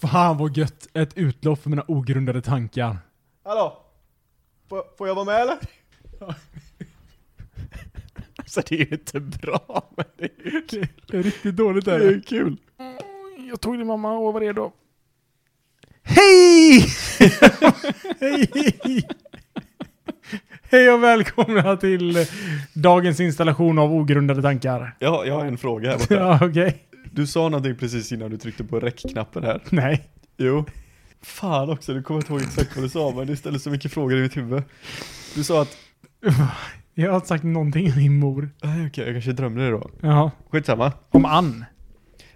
Fan vad gött! Ett utlopp för mina ogrundade tankar. Hallå? Får, får jag vara med eller? Alltså det är ju inte bra, men det är ju kul. Det är riktigt dåligt Det där. är ju kul. Jag tog din mamma och var redo. Hej! Hej! Hej och välkomna till dagens installation av ogrundade tankar. Ja, jag har en fråga här borta. Ja, okej. Du sa någonting precis innan du tryckte på räckknappen här. Nej. Jo. Fan också, du kommer inte ihåg exakt vad du sa, men du ställer så mycket frågor i mitt huvud. Du sa att, Jag har inte sagt någonting om min mor. nej "Äh, okej, jag kanske drömde det då. Ja. Skitsamma. Om Ann.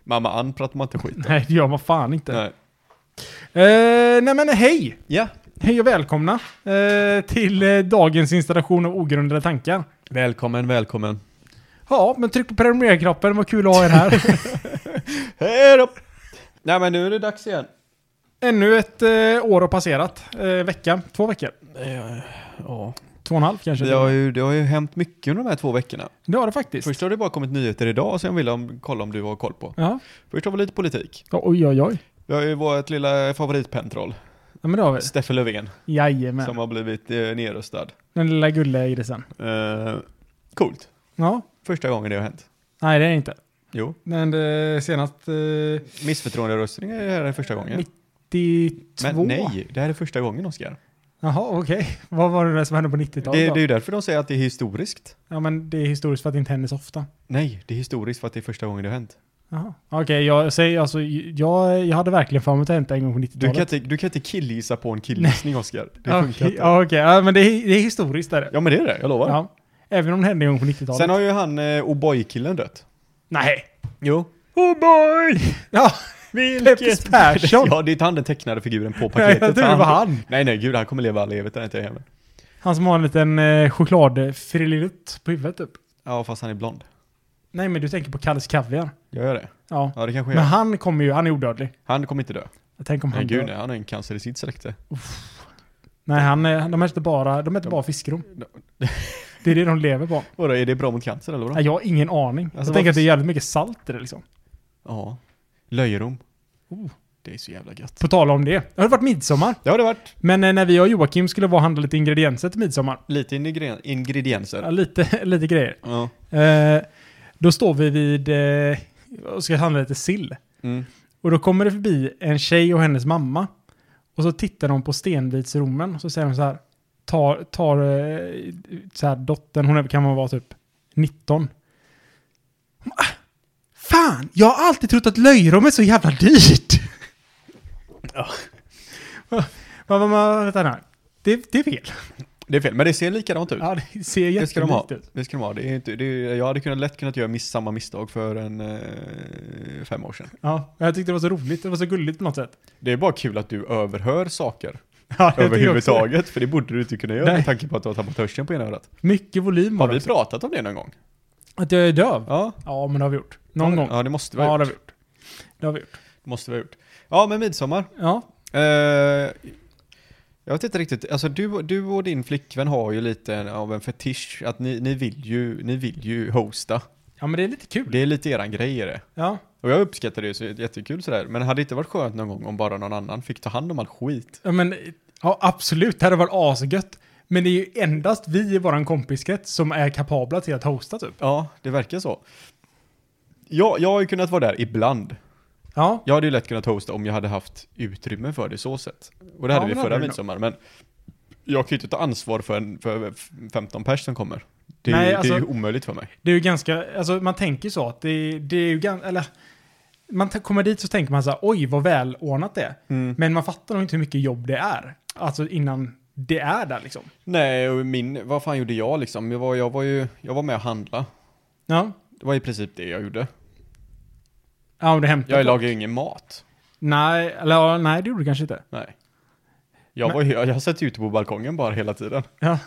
Mamma Ann pratar man inte skit om. Nej, det gör man fan inte. Nej. Eh, nej men hej! Ja. Hej och välkomna eh, till eh, dagens installation av ogrundade tankar. Välkommen, välkommen. Ja, men tryck på prenumerera-knappen, vad kul att ha er här. Hej då! Nej men nu är det dags igen. Ännu ett eh, år har passerat. Eh, vecka, två veckor. Eh, Ja. Två och en halv kanske. Det har, ju, det har ju hänt mycket under de här två veckorna. Det har det faktiskt. Först har det bara kommit nyheter idag som jag ville om, kolla om du har koll på. Ja. Först har vi lite politik. Ja, Oj, oj, oj. Vi har ju vårt lilla favoritpentroll, Ja, men det har vi. Steffe Löfven, Jajamän. som har blivit eh, nerröstad. Den lilla gullegrisen. Eh, coolt. Ja. Första gången det har hänt. Nej, det är det inte. Jo. Men det senast... Eh, Missförtroenderöstning är det här är första gången. 92? Men nej, det här är första gången Oskar. Jaha, okej. Vad var det där som hände på Det, 90-talet det då? är ju därför de säger att det är historiskt. Ja, men det är historiskt för att det inte händer så ofta. Nej, det är historiskt för att det är första gången det har hänt. Jaha. Okej, jag säger alltså, jag, jag hade verkligen för mig att det hänt en gång på Du kan 90-talet. inte, du kan inte killgissa på en killgissning Oskar. Det Ja, funkar Okej, inte. ja, okej. ja, men det är, det är historiskt är det. Ja men det är det, jag lovar. Ja. Även om det hände en gång på 90-talet. Sen har ju han eh, O'boy-killen dött. Nej! Jo. Oh boy! Ja, Peppis Persson! Ja, det är inte han den tecknade figuren på paketet. Nej, jag trodde det var han. Nej, nej, gud, han kommer leva all evighet, den är inte jag heller. Han som har en liten eh, chokladfrililutt på huvudet typ. Ja, fast han är blond. Nej, men du tänker på Kalles Kaviar. Jag gör det. Ja. Ja, det kanske jag Men gör. han kommer ju, han är odödlig. Han kommer inte dö. Tänk om han Nej, gud, dör. nej, han är en cancer i sitt släkte. Nej, han, är- de äter bara, de äter bara fiskrom. Det är det de lever på. Vadå, är det bra mot cancer eller vadå? Nej, jag har ingen aning. Alltså, jag tänker varför- att det är jävligt mycket salt i det liksom. Ja. Löjrom. Oh. Det är så jävla gött. På tala om det. Det har varit midsommar. Det har det varit. Men eh, när vi och Joakim skulle vara och handla lite ingredienser till midsommar. Lite ingre- Ja, ingredienser. lite, lite grejer. Ja. Eh, då står vi vid eh, och ska handla lite sill. Mm. Och då kommer det förbi en tjej och hennes mamma. Och så tittar de på stenvitsrommen och så säger de så här. Tar, tar eh, så här dottern, hon är, kan man vara typ 19. Hon bara, "Ah, Fan, jag har alltid trott att löjrom är så jävla dyrt. Ja. Man, man, vänta här. Det, det är fel. Det är fel, men det ser likadant ut. Ja, det ser typ. Det ska de ha. jättelikt ut. Det ska de ha. Det är inte, det är, jag hade kunnat, lätt kunnat göra miss, samma misstag för en eh, fem år sedan. Ja, jag tyckte det var så roligt. Det var så gulligt på något sätt. Det är bara kul att du överhör saker Ja, jag tycker också det. överhuvudtaget, för det borde du inte kunna göra Nej. med tanke på att du har tappat hörseln på ena örat. Mycket volym Har var det vi också. pratat om det någon gång? Att jag är döv? Ja. Ja. men det har vi gjort. Någon gång. Ja, det måste vi Ja, ha det har vi gjort. gjort. Det har vi gjort. Måste vi ha gjort. Ja, men midsommar. Ja. Eh, jag vet inte riktigt, alltså du, du och din flickvän har ju lite av en fetisch, att ni, ni, vill ju, ni vill ju hosta. Ja, men det är lite kul. Det är lite eran grej är det. Ja. Och jag uppskattar det, så det är jättekul sådär. Men hade det inte varit skönt någon gång om bara någon annan fick ta hand om all skit? ja, men ja, absolut. Det hade varit asgött. Men det är ju endast vi i våran kompiskrets som är kapabla till att hosta typ. Ja, det verkar så. Ja, jag har ju kunnat vara där ibland. Ja. Jag hade ju lätt kunnat hosta om jag hade haft utrymme för det så sett. Och det Ja, hade vi men förra hade du midsommar, men jag kan ju inte ta ansvar för, en, för 15 pers som kommer. Det är, Nej, ju- alltså- det är ju omöjligt för mig. Det är ju ganska, alltså man tänker så att det, det är ju ganska, eller man t- kommer dit så tänker man så här, oj vad välordnat det är. Mm. Men man fattar nog inte hur mycket jobb det är. Alltså innan det är där liksom. Nej, och min, vad fan gjorde jag liksom? Jag var, jag var ju, jag var med och handla. Ja. Det var i princip det jag gjorde. Ja, om du hämtar. Jag lagade ju ingen mat. Nej, eller ja, nej det gjorde du kanske inte. Nej. Jag, var, ju- jag, jag satt ju ute på balkongen bara hela tiden. Ja.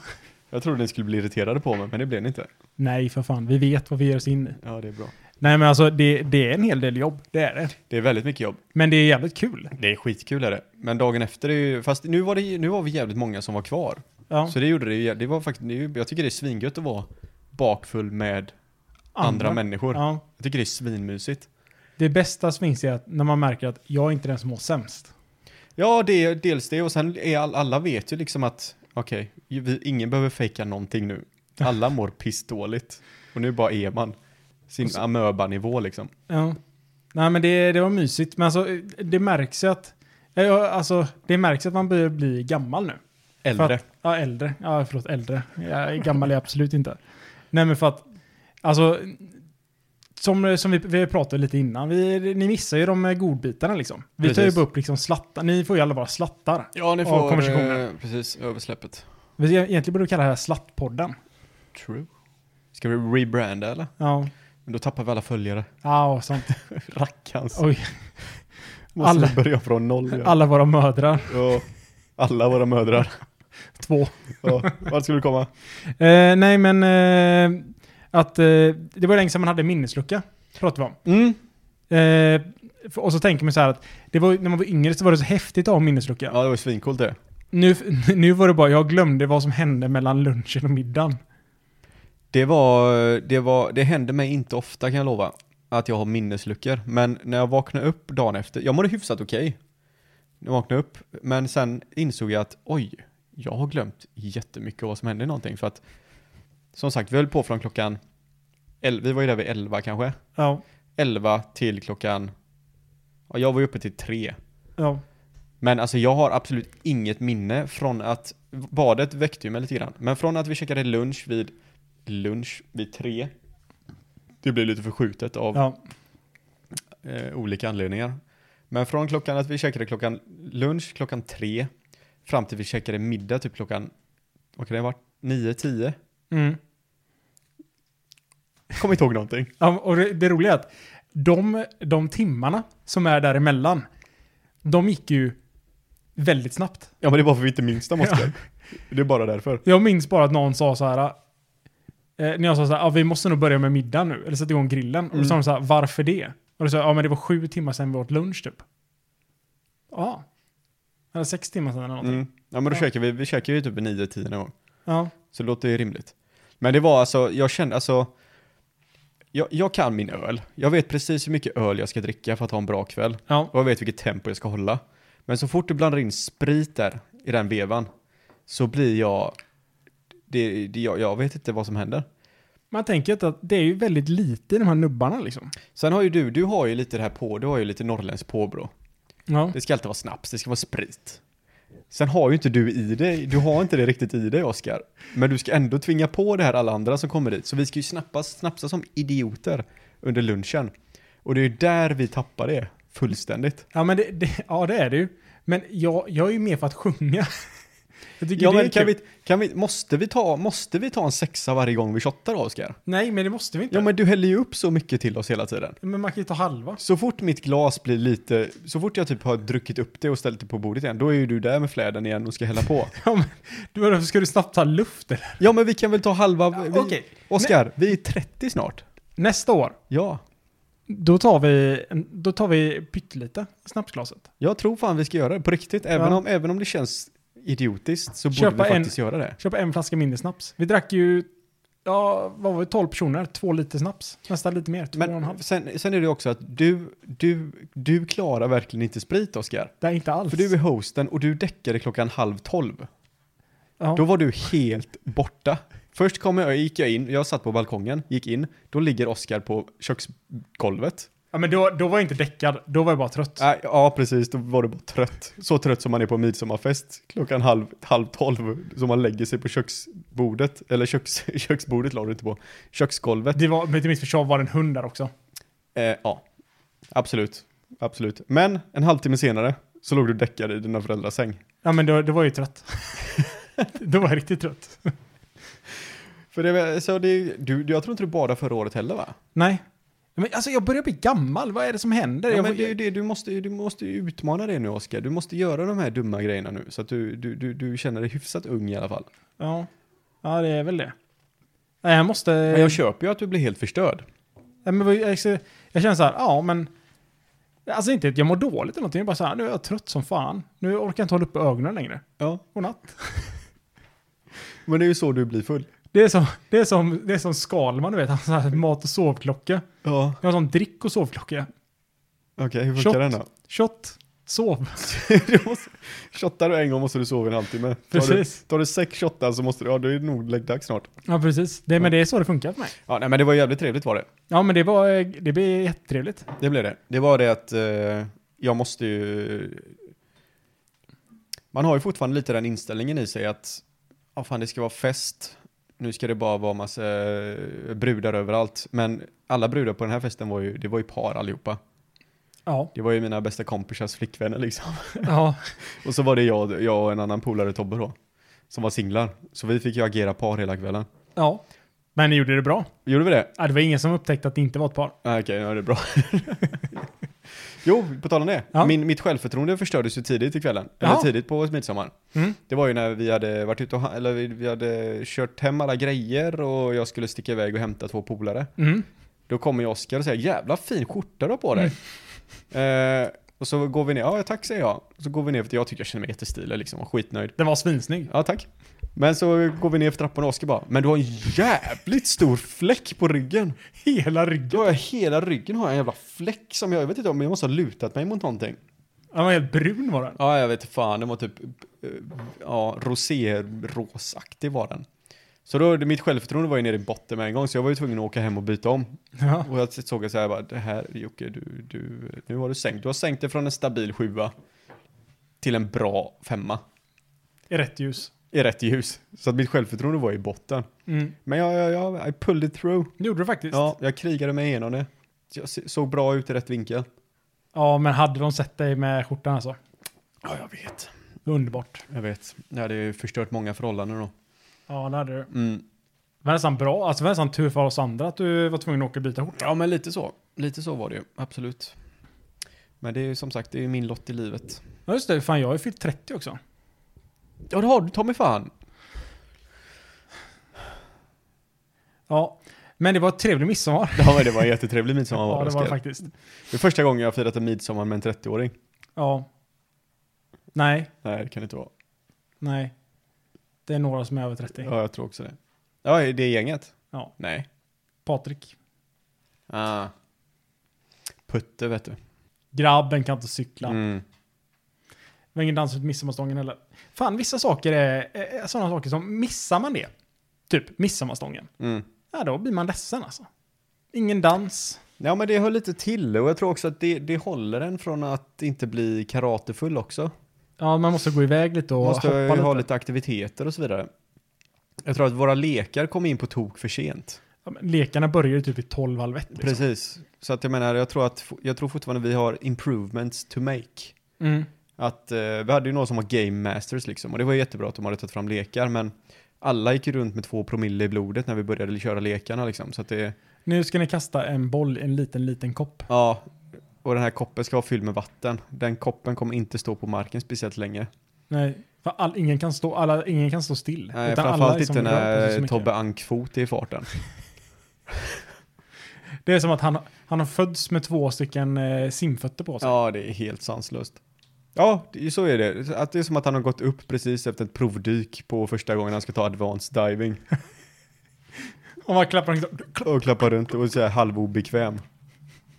Jag trodde ni skulle bli irriterade på mig, men det blev ni inte. Nej, för fan. Vi vet vad vi ger oss in i. Ja, det är bra. Nej, men alltså det, det är en hel del jobb. Det är det. Det är väldigt mycket jobb. Men det är jävligt kul. Det är skitkul är det. Men dagen efter är ju, fast nu var, det, ju- nu var vi jävligt många som var kvar. Ja. Så det gjorde det ju, det var faktiskt, det är ju- jag tycker det är svingött att vara bakfull med andra, människor. Ja. Jag tycker det är svinmysigt. Det bästa Sphinx är att när man märker att jag är inte den som mår sämst. Ja, det är dels det och sen är all, alla vet ju liksom att okej, vi- ingen behöver fejka någonting nu. Alla mår pissdåligt. Och nu bara är man sin Och så- amöba-nivå liksom. Ja. Nej men det, det var mysigt. Men alltså det märks ju att, ja, ja, alltså, det märks att man börjar bli gammal nu. För Äldre. att, ja, äldre. Ja, förlåt, äldre. Jag är gammal är jag absolut inte. Nej, men för att, alltså, som, som vi, vi pratade lite innan, vi, ni missar ju de eh, godbitarna liksom. Vi tar ju Precis. bara upp liksom slattar, ni får ju alla vara slattar. Ja, ni eh, får, Ja, konversationen. precis, översläppet. Vi, egentligen borde vi kalla det här slattpodden. True. Ska vi rebranda eller? Ja, Men då tappar vi alla följare. ja och sånt. Rackarns. Oj, Måste alla- alla. börja från noll. Ja. alla våra mödrar, Ja. alla våra mödrar. två. Ja. Vart ska du komma? Eh, nej, men eh, att eh, det var länge sedan man hade minneslucka, pratade vi om. Mm. Eh, för- och så tänker man så här att det var, när man var yngre så var det så häftigt att ha minneslucka. Ja, det var ju svincoolt det. Nu, nu var det bara, jag glömde vad som hände mellan lunchen och middagen. Det var, det var, det hände mig inte ofta kan jag lova. Att jag har minnesluckor. Men när jag vaknade upp dagen efter, jag mådde hyfsat okej. När jag vaknade upp, men sen insåg jag att oj, jag har glömt jättemycket vad som hände i någonting. För att som sagt, vi höll på från klockan, el- vi var ju där vid 11 kanske. Ja, 11 till klockan, ja, jag var ju uppe till 3. ja, Men alltså jag har absolut inget minne från att, badet väckte ju mig lite grann, men från att vi käkade lunch vid, lunch vid tre, det blev lite förskjutet av ja, eh, olika anledningar. Men från klockan att vi käkade klockan lunch klockan tre, fram till vi käkade middag typ klockan, vad kan det ha varit, nio, tio? mm. Kommer inte ihåg någonting. ja. Och det, det roliga är att de, de timmarna som är däremellan, de gick ju väldigt snabbt. Ja men det är bara för att vi inte minns dem Oskar. Det är bara därför. Jag minns bara att någon sa så här, eh, när jag sa så här, ah, vi måste nog börja med middag nu, eller sätta igång grillen. Och då sa Mm. de så här, varför det? Och då sa jag, ja ah, men det var sju timmar sedan vi åt lunch typ. Ja. Eller sex timmar sedan eller någonting. Mm. Ja men då Ja. käkar vi, vi käkar ju typ vid nio, tio någon gång. Ja, Så det låter ju rimligt. Men det var alltså, jag kände alltså, jag, jag kan min öl. Jag vet precis hur mycket öl jag ska dricka för att ha en bra kväll. ja, Och jag vet vilket tempo jag ska hålla. Men så fort du blandar in sprit där, i den vevan, så blir jag, det, det, jag, jag vet inte vad som händer. man tänker inte att det är ju väldigt lite i de här nubbarna liksom. Sen har ju du, du har ju lite det här på, du har ju lite norrländskt påbrå. Ja. Det ska alltid vara snaps, det ska vara sprit. Sen har ju inte du i dig, du har inte det riktigt i dig Oskar. Men du ska ändå tvinga på det här alla andra som kommer dit. Så vi ska ju snappa, snapsa som idioter under lunchen. Och det är ju där vi tappar det fullständigt. Ja, men det, det, ja, det är det ju. Men jag, jag är ju mer för att sjunga. Jag tycker Ja, det är men kan kul. vi, kan vi, måste, vi ta, måste vi ta en sexa varje gång vi shottar då Oskar? Nej, men det måste vi inte. Ja men du häller ju upp så mycket till oss hela tiden. men... man kan ju ta halva. Så fort mitt glas blir lite, så fort jag typ har druckit upp det och ställt det på bordet igen, då är ju du där med fläden igen och ska hälla på. Ja, men, du, varför ska du snabbt ta luft eller? Ja men vi kan väl ta halva... vi- okej. Oskar, vi är 30 snart. Nästa år, Ja. då tar vi, en- då tar vi pyttelite i snapsglaset. Jag tror fan vi ska göra det på riktigt. Även, Ja. om, även om det känns idiotiskt så Köpa borde vi en- faktiskt göra det. Köpa en flaska mindre snaps. Vi drack ju, ja, vad var vi, 12 personer, två liter snaps. Nästan lite mer, två och en halv. Men sen, sen är det också att du, du, du klarar verkligen inte sprit Oskar. Det är inte alls. För du är hosten och du däckade klockan halv tolv. ja. Då var du helt borta. Först kom jag, gick jag in, jag satt på balkongen, gick in, då ligger Oskar på köksgolvet. ja, men då, då var jag inte däckad, då var jag bara trött. Nej, ja, precis. Då var du bara trött. Så trött som man är på midsommarfest klockan halv, halv tolv. Så man lägger sig på köksbordet. Eller köks, köksbordet la du inte på. Köksgolvet. Det var, men till mitt försvar var det en hund där också. Eh, ja, absolut. Absolut. Men en halvtimme senare så låg du däckad i dina föräldrars säng. Ja men då, då var jag ju trött. då var jag riktigt trött. För det, var- så det, du, du, jag tror inte du badade förra året heller va? Nej. Men alltså jag börjar bli gammal, vad är det som händer? Ja, jag, men får- det, är ju det, du, måste, ju- du måste ju utmana det nu Oskar. Du måste göra de här dumma grejerna nu. Så att du, du, du, du känner dig hyfsat ung i alla fall. ja. ja, det är väl det. Nej, jag måste... Men jag köper ju att du blir helt förstörd. Nej, men vad- jag, jag, jag känner så här, ja men... Alltså inte att jag mår dåligt eller någonting, jag är bara så här, nu är jag trött som fan. Nu orkar jag inte hålla upp ögonen längre. Ja. Godnatt. Men det är ju så du blir full. Det är som, det är som, det är som Skalman, du vet, han har så här mat och sovklocka. Ja. Jag har sån drick och sovklocka. Okej, hur funkar Shot. den då? Shot, sov. du måste, shottar du en gång måste du sova en halvtimme. Tar du, Precis. tar du sex shottar så måste du, ja då är det nog läggdags snart. Ja, precis. Det, men det är så det funkar för mig. Ja, nej men det var jävligt trevligt var det. Ja, men det, var, eh, det blir jättetrevligt. Det blev det. Det var det att eh, jag måste ju... Man har ju fortfarande lite den inställningen i sig att ja fan det ska vara fest. Nu ska det bara vara massa eh, brudar överallt. Men alla brudar på den här festen var ju, det var ju par allihopa. Ja, Det var ju mina bästa kompisars flickvänner liksom. ja, Och så var det jag, jag och en annan polare Tobbe då. Som var singlar. Så vi fick ju agera par hela kvällen. ja. Men ni gjorde det bra. Gjorde vi det? Ja, det var ingen som upptäckte att det inte var ett par. Ah, Okej, ja, det är bra. jo, på tal om det. Ja. Min, mitt självförtroende förstördes ju tidigt i kvällen. Eller Ja. tidigt på midsommar. Mm. Det var ju när vi hade varit ute och, ha- eller vi, vi hade kört hem alla grejer och jag skulle sticka iväg och hämta två polare. Mm. Då kommer ju Oskar och säger jävla fin skjorta du har på dig. Mm. Eh, och så går vi ner, ja tack säger jag. Så går vi ner för att jag tycker jag känner mig jättestilig liksom och skitnöjd. Den var svinsnygg. Ja tack. Men så går vi ner för trappan och Oskar bara, men du har en jävligt stor fläck på ryggen. Hela ryggen. Då har jag hela ryggen har jag en jävla fläck som jag, jag vet inte om jag måste ha lutat mig mot någonting. Den var helt brun var den. Ja, jag vet fan, den var typ, eh, ja, rosérosaktig var den. Så då, mitt självförtroende var ju nere i botten med en gång, så jag var ju tvungen att åka hem och byta om. Ja. Och jag såg att så här, bara, det här Jocke, du, du, nu har du sänkt, du har sänkt det från en stabil sjua till en bra femma I rätt ljus. i rätt ljus. Så att mitt självförtroende var i botten. Mm. Men jag, jag, jag I pulled it through. Det gjorde du faktiskt. Ja, jag krigade mig igenom det. Jag se- såg bra ut i rätt vinkel. ja, men hade de sett dig med skjortan alltså. Ja, jag vet. Underbart. Jag vet. Det hade ju förstört många förhållanden då. Ja, det hade du. Mm. Det var nästan bra. Alltså, det var nästan tur för oss andra att du var tvungen att åka och byta skjorta. Ja, men lite så. Lite så var det ju. Absolut. Men det är ju som sagt, det är ju min lott i livet. Ja, just det. Fan, jag har ju fyllt 30 också. Ja, det har du. Ta mig fan. Ja, men det var ett trevligt midsommar. Ja, men det var en jättetrevlig midsommar. Ja, det var det Oskar. faktiskt. Det är första gången jag har firat en midsommar med en 30-åring. Ja. Nej, Nej, det kan det inte vara. nej. Det är några som är över 30. Ja, jag tror också det. Ja, det är gänget? Ja. Nej. Patrik. Ah. Putte, vet du. Grabben kan inte cykla. Mm. Det var ingen dans runt midsommarstången heller. Fan, vissa saker är, är sådana saker som, missar man det, typ midsommarstången, Mm. ja då blir man ledsen alltså. Ingen dans. Ja, men det hör lite till och jag tror också att det, det håller en från att inte bli karatefull också. Ja, man måste gå iväg lite och måste hoppa ju lite. ha lite aktiviteter och så vidare. Jag tror att våra lekar kom in på tok för sent. Ja, men lekarna börjar ju typ vid 12, halv ett. Liksom. Precis. Så att jag menar, jag tror, att, jag tror fortfarande vi har improvements to make. Mm. Att eh, vi hade ju någon som var game masters liksom och det var ju jättebra att de hade tagit fram lekar men alla gick ju runt med två promille i blodet när vi började köra lekarna liksom så att det, Nu ska ni kasta en boll i en liten, liten kopp. ja. Och den här koppen ska vara fylld med vatten. Den koppen kommer inte stå på marken speciellt länge. Nej, för all, ingen, kan stå, alla, ingen kan stå still. Nej, Utan alla framförallt liksom inte rör på sig så när mycket. Tobbe Ankfot är i farten. Det är som att han, han har fötts med två stycken eh, simfötter på sig. Ja, det är helt sanslöst. Ja, det- så är det. Att det är som att han har gått upp precis efter ett provdyk på första gången han ska ta advanced diving. Och man klappar honom. Och klappar runt och är så här halvobekväm.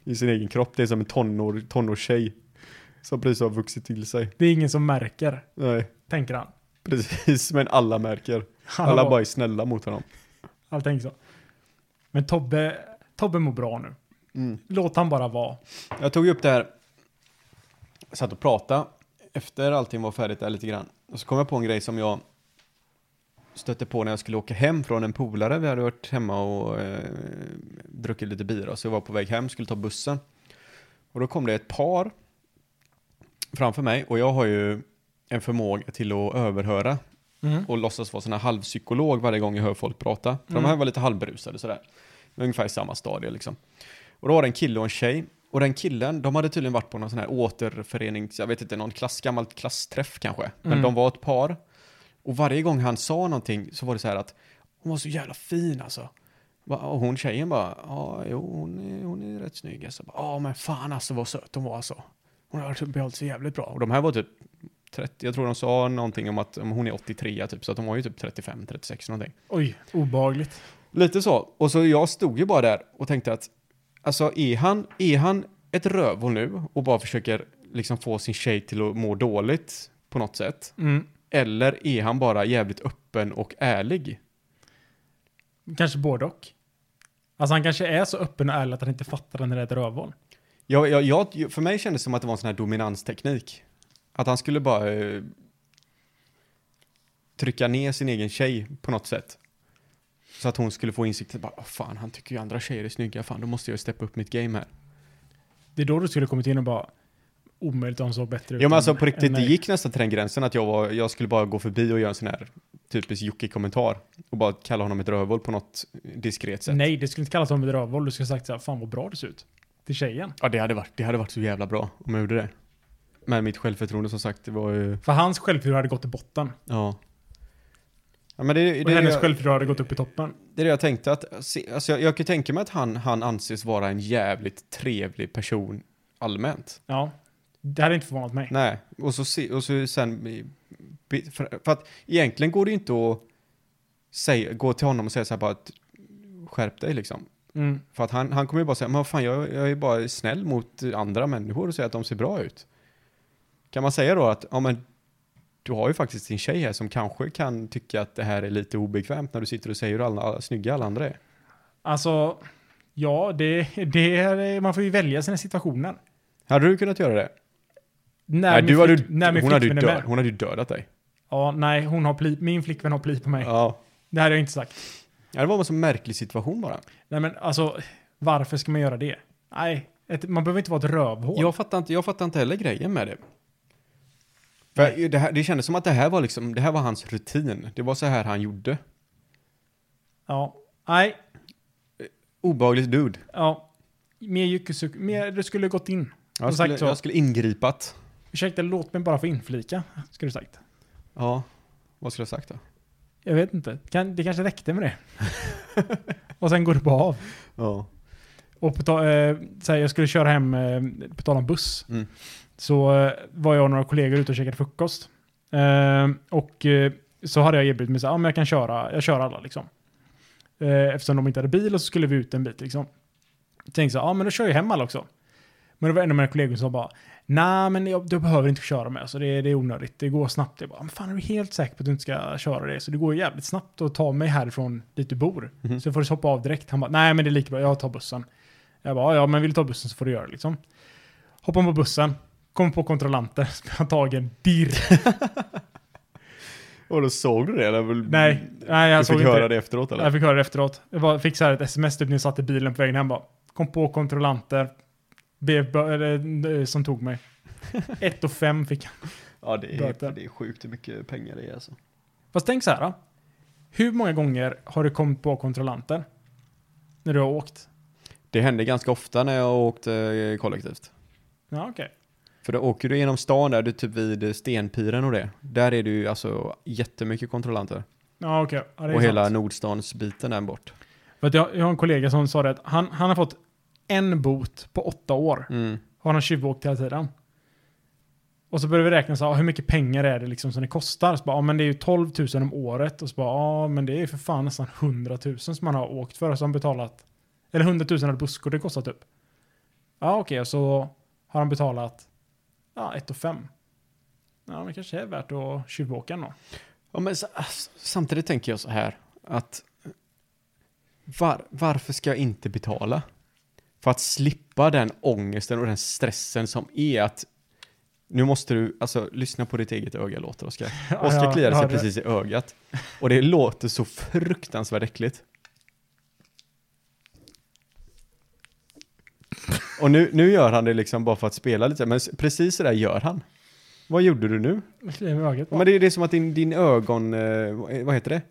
I sin egen kropp. Det är som en tonår, tonårstjej. Som precis har vuxit till sig. Det är ingen som märker, Nej, tänker han. precis. Men alla märker. Han Alla bara- bara är snälla mot honom. Han tänker så. Men Tobbe, Tobbe mår bra nu. Mm. Låt han bara vara. Jag tog ju upp det här. Satt och pratade. Efter allting var färdigt där lite grann. Och så kom jag på en grej som jag stötte på när jag skulle åka hem från en polare. Vi hade varit hemma och eh, druckit lite bira. Så jag var på väg hem, skulle ta bussen. Och då kom det ett par framför mig. Och jag har ju en förmåga till att överhöra och låtsas vara sån här halvpsykolog varje gång jag hör folk prata. För de här var lite halvberusade sådär. Ungefär i samma stadie liksom. Och då var det en kille och en tjej. Och den killen, de hade tydligen varit på någon sån här återförening, jag vet inte, någon klass, gammal klassträff kanske. Men de var ett par. Och varje gång han sa någonting så var det så här att hon var så jävla fin alltså. Va- Och hon tjejen bara, ja jo hon är, hon är rätt snygg alltså. Bara, Ja men fan alltså vad söt hon var alltså. Hon har behållit sig jävligt bra. Och de här var typ 30, jag tror de sa någonting om att om hon är 83 typ, så att de var ju typ 35, 36 någonting. Oj, obehagligt. Lite så. Och så jag stod ju bara där och tänkte att, alltså är han, är han ett rövhål nu och bara försöker liksom få sin tjej till att må dåligt på något sätt? Mm. Eller är han bara jävligt öppen och ärlig? Kanske både och. Alltså han kanske är så öppen och ärlig att han inte fattar när det är ett rövhål. Jag, jag, jag, för mig kändes det som att det var en sån här dominansteknik. Att han skulle bara eh, trycka ner sin egen tjej på något sätt. Så att hon skulle få insikten bara, "Åh, fan han tycker ju andra tjejer är snygga, fan då måste jag steppa upp mitt game här. Det är då du skulle kommit in och bara omöjligt om så bättre ut Ja men än- alltså på än riktigt, det mig." gick nästan till den gränsen att jag, var, jag skulle bara gå förbi och göra en sån här typisk Jocke-kommentar och bara kalla honom ett rövhål på något diskret sätt. Nej, det skulle inte kallas som ett rövhål. Du skulle sagt så här, fan vad bra det ser ut. Till tjejen. Ja det hade, varit, det hade varit så jävla bra om jag gjorde det. Men mitt självförtroende som sagt, det var ju, För hans självförtroende hade gått till botten. ja. Ja men det, det, Och det, hennes jag, självförtroende hade gått upp i toppen. det är det jag tänkte att, se- alltså jag, jag kan ju tänka mig att han, han anses vara en jävligt trevlig person allmänt. Ja. Det hade inte förvånat mig. Nej, och så, se, och så sen... be- För, för att egentligen går det ju inte att säga, gå till honom och säga så här bara att skärp dig liksom. Mm. För att han, han kommer ju bara säga, men vad fan jag, jag är bara snäll mot andra människor och säger att de ser bra ut. Kan man säga då att, ja men du har ju faktiskt din tjej här som kanske kan tycka att det här är lite obekvämt när du sitter och säger hur alla, alla, snygga alla andra är. Alltså, ja, det, det är, man får ju välja sina situationer. Hade du kunnat göra det? När min du hade, flick- när min hon, hade ju flickvän är död, med. hon hade ju dödat dig. Ja, nej, hon har pli, min flickvän har pli på mig. Ja. Det hade jag inte sagt. ja, det var en så märklig situation bara. Nej, men alltså, varför ska man göra det? Nej, ett, man behöver inte vara ett rövhål. Jag fattar inte, jag fattar inte heller grejen med det. För det, här, det kändes som att det här var liksom, det här var hans rutin. Det var så här han gjorde. Ja, nej, Obehagligt dude. ja. Mer jyckesuk, mer, du skulle gått in. Jag Som skulle, sagt så. jag skulle ingripat. Ursäkta, låt mig bara få inflika, skulle du sagt. Ja, vad skulle jag sagt då? Jag vet inte, kan, det kanske räckte med det. och sen går du på av. Ja. Och på ta, eh, så här, jag skulle köra hem, eh, på tal om buss, Mm. så eh, var jag och några kollegor ute och käkade frukost. Eh, och eh, så hade jag erbjudit mig så här, ah, men jag kan köra, jag kör alla liksom. Eh, eftersom de inte hade bil och så skulle vi ut en bit liksom. Tänkte så ja ah, men då kör jag hem alla också. Men det var en av mina kollegor som bara, nej men jag, du behöver inte köra med, så det, det är onödigt, det går snabbt. Jag bara, men fan är du helt säker på att du inte ska köra det? Så det går ju jävligt snabbt att ta mig härifrån dit du bor. Mhm. Så får du hoppa av direkt. Han bara, nej men det är lika bra, jag tar bussen. Jag bara, ja men vill du ta bussen så får du göra det liksom. Hoppar på bussen, kommer på kontrollanter, som jag har tagen dirr. Och då såg du det eller? Nej, nej jag såg inte det. efteråt Jag fick höra det efteråt. Jag bara fick så här ett sms typ när jag satt i bilen på vägen hem bara. Kom på kontrollanter. Be, be, eller, eh, som tog mig. 1 och 5 fick jag. Ja, det Böter. det är sjukt hur mycket pengar det är alltså. Fast tänk så här. då. Hur många gånger har du kommit på kontrollanter? När du har åkt? Det hände ganska ofta när jag åkte eh, kollektivt. Ja, okej. För då åker du genom stan där, du är typ vid Stenpiren och det. Där är det ju alltså jättemycket kontrollanter. Ja, okej. Ja, det är och hela sant. Nordstansbiten där bort. För att jag, jag har en kollega som sa det att han, han har fått en bot på åtta år. Mm. Har han tjuvåkt hela tiden? Och så börjar vi räkna så här, ah, hur mycket pengar är det liksom som det kostar? Så bara, ah, men det är ju 12 000 om året. Och så bara, ah, men det är ju för fan nästan 100 000 som man har åkt för. Som betalat, eller 100 000 hade busskort det kostat upp. Ja ah, okej, så har han betalat ja, 1 5. Ja men kanske är värt att tjuvåka ändå. Ja, men, äh, s- ass- samtidigt tänker jag så här att eh, var, varför ska jag inte betala? För att slippa den ångesten och den stressen som är att nu måste du, alltså lyssna på ditt eget öga låter Oskar. Ja, Oskar jag kliar sig hörde. precis i ögat och det låter så fruktansvärt äckligt. Och nu, nu gör han det liksom bara för att spela lite, men s- precis så där gör han. Vad gjorde du nu? Jag kliar mig i ögat Ja, bara. Men det, det är som att din, din ögon, eh, vad heter det?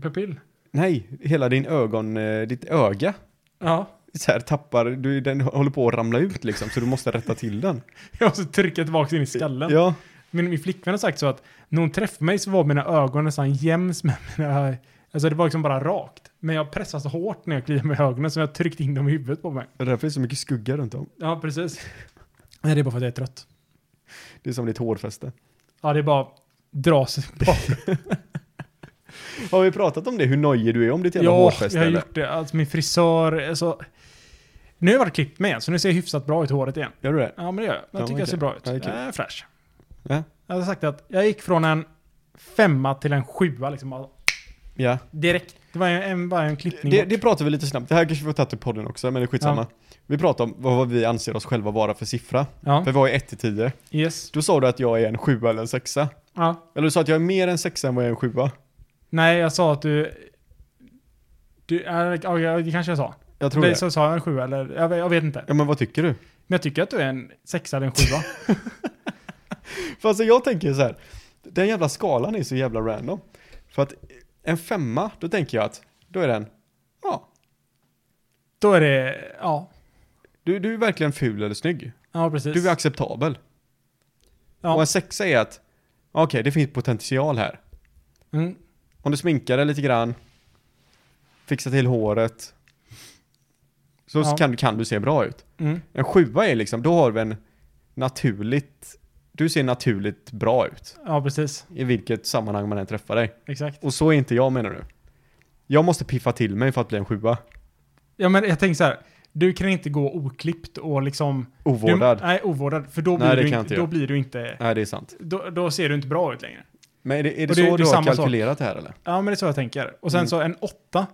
Pupill. Nej, hela din ögon, eh, ditt öga Ja, så här tappar, du, den håller på att ramla ut liksom så du måste rätta till den. jag måste trycka tillbaka in i skallen. Ja, Min, min flickvän har sagt så att när hon träffade mig så var mina ögon nästan jäms med mina... Alltså det var liksom bara rakt. Men jag pressade så hårt när jag kliade med ögonen så jag tryckte in dem i huvudet på mig. och därför är det så mycket skugga runt om. Ja, precis. Nej, det är bara för att jag är trött. Det är som ditt hårfäste. Ja, det är bara dra sig bakåt. Har vi pratat om det, hur nojig du är om ditt jävla Ja, hårfäste? jag har eller? gjort det. Alltså min frisör, alltså... Nu har jag varit klippt med, så nu ser jag hyfsat bra ut i håret igen. Gör du det? Ja, men det gör jag. Jag Ja, tycker jag okej. ser bra ut. Ja, det är jag kul. är fräsch. Ja. Jag hade sagt att jag gick från en femma till en sjua liksom. bara Ja. Direkt. Det var ju en, bara en klippning. Det, bort. det pratar vi lite snabbt, det här kanske vi får tagit upp podden också, men det är skitsamma. Vi pratar om vad vad vi anser oss själva vara för siffra. ja. För vi var ju 1 till 10. Yes. Då sa du att jag är en 7 eller en 6 Eller Ja. du sa att jag är mer en 6 än vad jag är en 7 Nej, jag sa att du... Du, är, ja, jag- det kanske jag sa. Jag tror Det, det. så sa jag en sjua eller, jag, vet- jag vet inte. Ja men vad tycker du? Men jag tycker att du är en sexa eller en sjua. För alltså jag tänker så här. den jävla skalan är så jävla random. För att en femma, då tänker jag att, då är den, ja, Då är det, ja. du, du är verkligen ful eller snygg. Ja, precis. Du är acceptabel. Ja. Och en sexa är att, okej det finns potential här. mm. Om du sminkar dig lite grann, fixar till håret, så Ja. kan, kan du se bra ut. Mm. En sjua är liksom, då har du en naturligt, du ser naturligt bra ut. Ja, precis. I vilket sammanhang man än träffar dig. Exakt. Och så är inte jag menar du. Jag måste piffa till mig för att bli en sjua. Ja, men jag tänker så här. Du kan inte gå oklippt och liksom... Ovårdad. Du, nej, ovårdad. För då Nej, blir, det du, kan jag inte, inte då göra. blir du inte... Nej det är sant. Då, då ser du inte bra ut längre. Men är det, är Och det det- så det är du har samma sak. kalkylerat det här eller? Ja, men det är så jag tänker. Och sen Mm. så en åtta,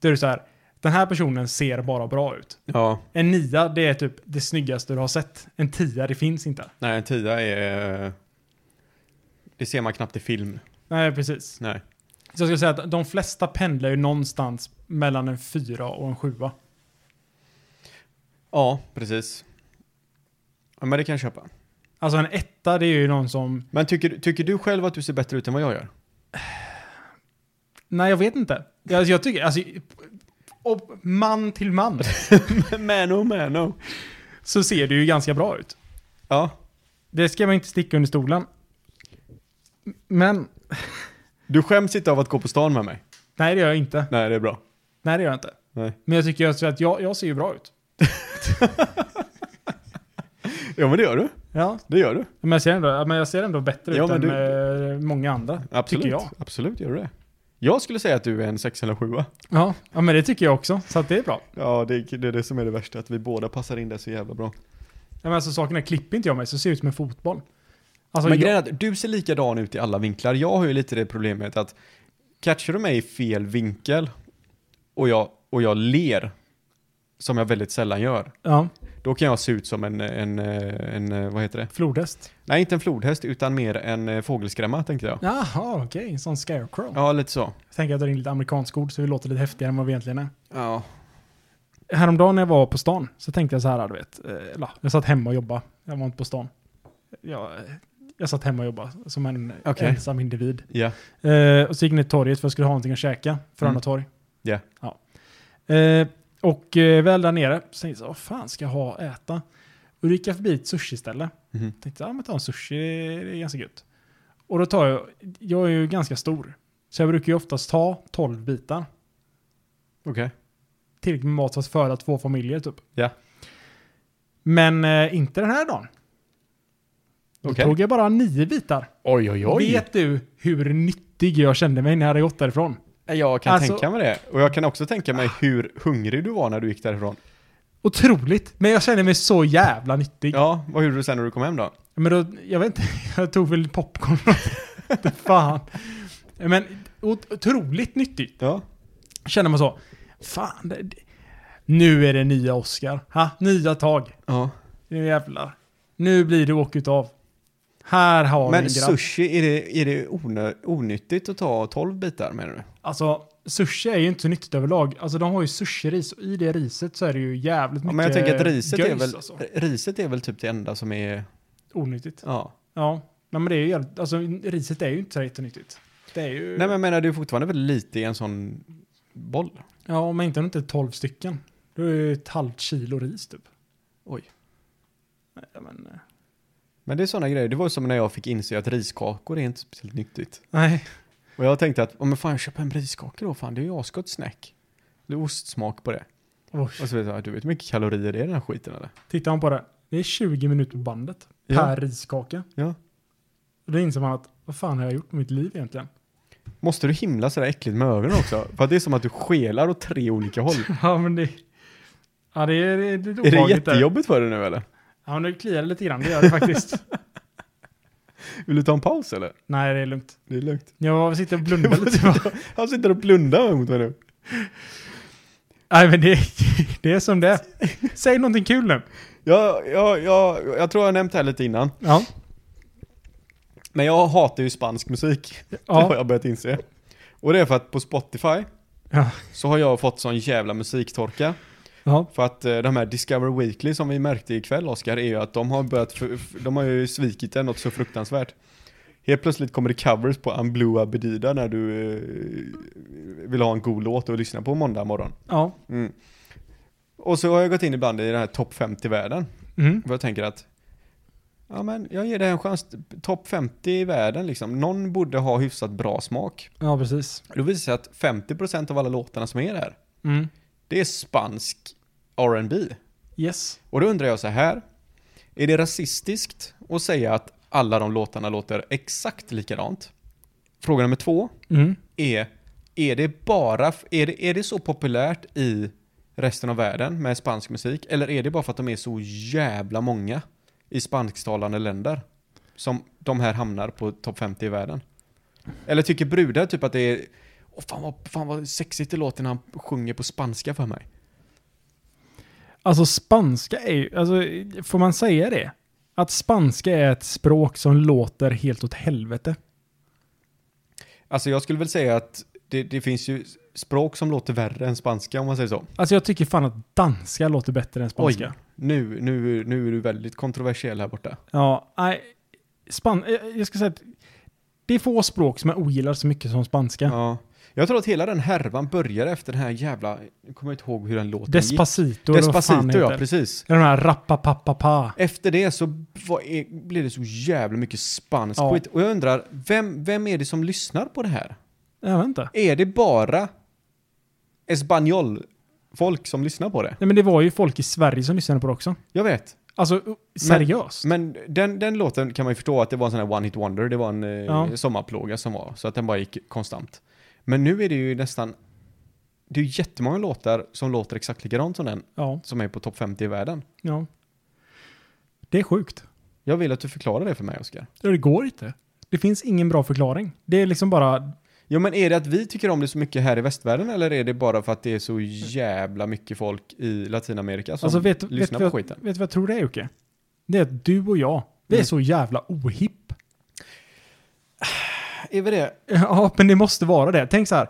då är det så här. Den här personen ser bara bra ut. Ja. En nia, det är typ det snyggaste du har sett. En tia, det finns inte. Nej en tia är... eh, Det ser man knappt i film. Nej, precis. Nej. Så jag skulle säga att de flesta pendlar ju någonstans mellan en fyra och en sjua. Ja, precis. Ja, men det kan jag köpa. Alltså en etta, det är ju någon som... Men tycker, tycker du själv att du ser bättre ut än vad jag gör? Nej, jag vet inte. Alltså, jag tycker, alltså... Och man till man oh, mano, mano. så ser det ju ganska bra ut. Ja. Det ska man inte sticka under stolen. Men... Du skäms inte av att gå på stan med mig? Nej, det gör jag inte. Nej, det är bra. Nej, det gör jag inte. Nej. Men jag tycker också att jag, jag ser ju bra ut. Ja, men det gör du. Ja, Det gör du. men jag ser ändå, ja, men jag ser ändå bättre Ja, ut än men eh, många andra. Absolut. Tycker jag. Absolut gör du det. Jag skulle säga att du är en sex eller sjua. Ja, ja, men det tycker jag också. Så att det är bra. Ja, det, är- det är det som är det värsta, att vi båda passar in där så jävla bra. Ja, men alltså saken är, klipper inte jag mig så ser jag ut som en fotboll. Alltså, men grejen jag, är att du ser likadan ut i alla vinklar. Jag har ju lite det problemet att catchar du mig i fel vinkel och jag, och jag ler, som jag väldigt sällan gör, ja, då kan jag se ut som en, en, eh, en, eh, vad heter det? flodhäst. Nej, inte en flodhäst, utan mer en eh, fågelskrämma tänkte jag. Jaha, okej. En sån scarecrow. Ja, lite så. Jag tänker att det är lite amerikansk ord så vi låter lite häftigare än vad vi egentligen är. Ja. Häromdagen när jag var på stan så tänkte jag så här, du vet. eh, Eller, jag satt hemma och jobbade. Jag var inte på stan. Jag, jag satt hemma och jobbade som en Okej. ensam individ. Ja. Eh, och så gick jag ner till torget för jag skulle ha någonting att käka. Frölunda Mm. torg. Ja. Ja. Eh, och eh, väl där nere så tänkte jag, vad fan ska jag ha att äta? Och då gick jag förbi ett sushiställe. Mhm. Tänkte, ja men ta en sushi, det det är ganska gött. Och då tar jag, jag är ju ganska stor. Så jag brukar ju oftast ta 12 bitar. Okej. Tillräckligt med mat för att föda två familjer typ. Ja. Men eh, inte den här dagen. Då Okej. tog jag bara nio bitar. Oj, oj, oj. Vet du hur nyttig jag kände mig när jag hade gått därifrån? Jag kan Alltså- tänka mig det. Och jag kan också tänka mig hur hungrig du var när du gick därifrån. Otroligt! Men jag kände mig så jävla nyttig. Ja, vad gjorde du sen när du kom hem då? Men då, jag vet inte, jag tog väl popcorn. Inte fan. Men ot- otroligt nyttigt. Ja. Känner man så. Fan, det, det, nu är det nya Oscar. Ha, nya tag. Ja. Nu jävlar. Nu blir det åk utav. Här har Men vi en grabb. sushi, är det, är det onö, onyttigt att ta 12 bitar menar du? Alltså, sushi är ju inte så nyttigt överlag. Alltså de har ju sushiris och i det riset så är det ju jävligt Ja, mycket men jag tänker att riset är, göjs, väl, alltså. riset är väl typ det enda som är, Onyttigt. ja. Ja. Nej, men det är ju jävligt, alltså riset är ju inte så jättenyttigt. Det är ju... Nej men jag menar, du är fortfarande väldigt lite i en sån boll. Ja, men inte om det inte är 12 stycken. Då är det ett halvt kilo ris typ. Oj. Nej, men, eh, Men det är sådana grejer, det var som när jag fick inse att riskakor är inte speciellt nyttigt. nej. Och jag tänkte att, oh, men fan jag köper en riskaka då, fan det är ju asgott snack. Det är ostsmak på det. Oj. Och så vet jag, du vet hur mycket kalorier det är i den här skiten eller? Tittar man på det. Det är 20 minuter på bandet. Ja. Per riskaka. Ja. Och då inser man att vad fan har jag gjort med mitt liv egentligen? Måste du himla sådär äckligt med ögonen också? För att det är som att du skelar åt tre olika håll. Ja, men det... Ja, det är, det är lite Är det obehagligt där. jättejobbigt för dig nu eller? Ja, men nu kliar det lite grann. Det gör det faktiskt. Vill du ta en paus eller? typ Nej, det är lugnt. Det är lugnt. Jag sitter och blundar lite. bara. Han sitter och blundar mot mig nu. Nej, men det, det är som det är. Säg någonting kul nu. Jag, jag, jag, jag tror jag har nämnt det här lite innan. Ja. Men jag hatar ju spansk musik. Det har ja. jag börjat inse. Och det är för att på Spotify Ja. så har jag fått sån jävla musiktorka. ja. För att eh, de här Discover Weekly som vi märkte ikväll Oskar, är ju att de har börjat, f- f- de har ju svikit en något så fruktansvärt. Helt plötsligt kommer det covers på Amblua Bedida när du eh, vill ha en god låt att lyssna på måndag morgon. ja. Mm. Och så har jag gått in ibland i den här topp 50-världen. Mm. För jag tänker att Ja men jag ger det en chans, topp 50 i världen liksom. Någon borde ha hyfsat bra smak. ja, precis. Då visar det sig att 50% av alla låtarna som är där, Mm. det är spansk R&B. Yes. Och då undrar jag så här, är det rasistiskt att säga att alla de låtarna låter exakt likadant? Fråga nummer två Mm. är, är det bara, är det, är det så populärt i resten av världen med spansk musik? Eller är det bara för att de är så jävla många i spansktalande länder? Som de här hamnar på topp 50 i världen? Eller tycker brudar typ att det är, åh fan vad, fan vad sexigt det låter när han sjunger på spanska för mig? Alltså spanska är ju, alltså får man säga det? Att spanska är ett språk som låter helt åt helvete. Alltså jag skulle väl säga att det, det finns ju språk som låter värre än spanska om man säger så. Alltså jag tycker fan att danska låter bättre än spanska. Oj, nu, nu, nu är du väldigt kontroversiell här borta. Ja, nej. Span- jag jag ska säga att det är få språk som jag ogillar så mycket som spanska. Ja. Jag tror att hela den härvan börjar efter den här jävla, nu kommer jag inte ihåg hur den låten Despacito, gick. eller vad fan Despacito, ja, heter. precis. Eller de här rappapapapa. Efter det så var, är, blev det så jävla mycket spansk Ja. skit. Och jag undrar, vem, vem är det som lyssnar på det här? Jag vet inte. Är det bara espanjol-folk som lyssnar på det? Nej men det var ju folk i Sverige som lyssnade på det också. Jag vet. Alltså, u- seriöst. Men den, den låten kan man ju förstå att det var en sån här one-hit wonder, det var en eh, Ja. sommarplåga som var, så att den bara gick konstant. Men nu är det ju nästan, det är ju jättemånga låtar som låter exakt likadant som den ja, som är på topp 50 i världen. ja. Det är sjukt. Jag vill att du förklarar det för mig, Oskar. Ja, Det går inte. Det finns ingen bra förklaring. Det är liksom bara, Jo, men är det att vi tycker om det så mycket här i västvärlden eller är det bara för att det är så jävla mycket folk i Latinamerika som alltså vet, vet, lyssnar du vad- på skiten? vet du vad jag tror det är Jocke? Det är att du och jag, vi är Mm. så jävla ohipp. Är vi det? Ja, men det måste vara det. Tänk så här,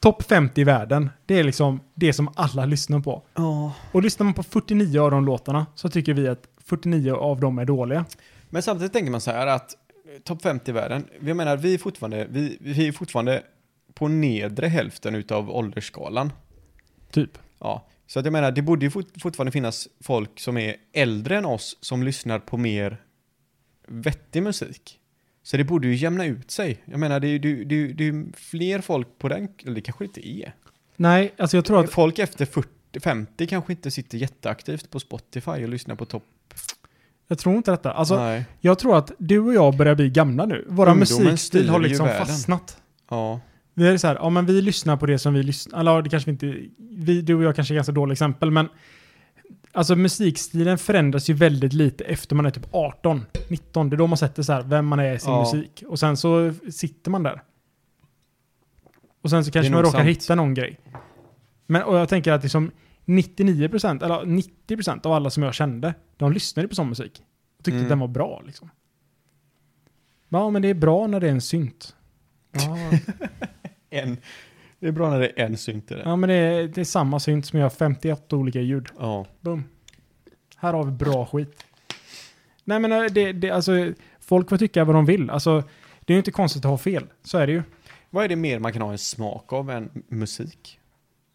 topp 50 i världen, det är liksom det som alla lyssnar på. Ja. Och lyssnar man på 49 av de låtarna så tycker vi att 49 av dem är dåliga. Men samtidigt tänker man så här att eh, topp 50 i världen, jag menar vi är fortfarande, vi, vi är fortfarande på nedre hälften utav åldersskalan. Typ. Ja, så att jag menar det borde ju fort, fortfarande finnas folk som är äldre än oss som lyssnar på mer vettig musik. Så det borde ju jämna ut sig. Jag menar det är ju det, är ju- det är ju fler folk på den, eller det kanske inte är. Nej, alltså jag tror att Folk efter 40, 50 kanske inte sitter jätteaktivt på Spotify och lyssnar på topp. Jag tror inte detta. Alltså, Nej. jag tror att du och jag börjar bli gamla nu. Våra Ungdomen musikstil styr har ju liksom världen. fastnat. Ja. Vi är så här, ja men vi lyssnar på det som vi lyssnar, eller ja, det kanske vi inte, vi, du och jag kanske är ganska dåliga exempel, men alltså musikstilen förändras ju väldigt lite efter man är typ 18, 19. Det är då man sätter så här vem man är i sin Ja. musik. Och sen så sitter man där. Och sen så kanske nog man råkar sant. hitta någon grej. Men och jag tänker att liksom 99% eller 90% av alla som jag kände, de lyssnade på sån musik. Och tyckte Mm. att den var bra liksom. Ja men det är bra när det är en synt. Ja, En, det är bra när det är en synt i det. Ja, men det är, det är samma synt som gör 51 olika ljud. Ja. Boom. Här har vi bra skit. Nej, men eh, det, det, alltså, folk får tycka vad de vill. Alltså, det är ju inte konstigt att ha fel. Så är det ju. Vad är det mer man kan ha en smak av än musik?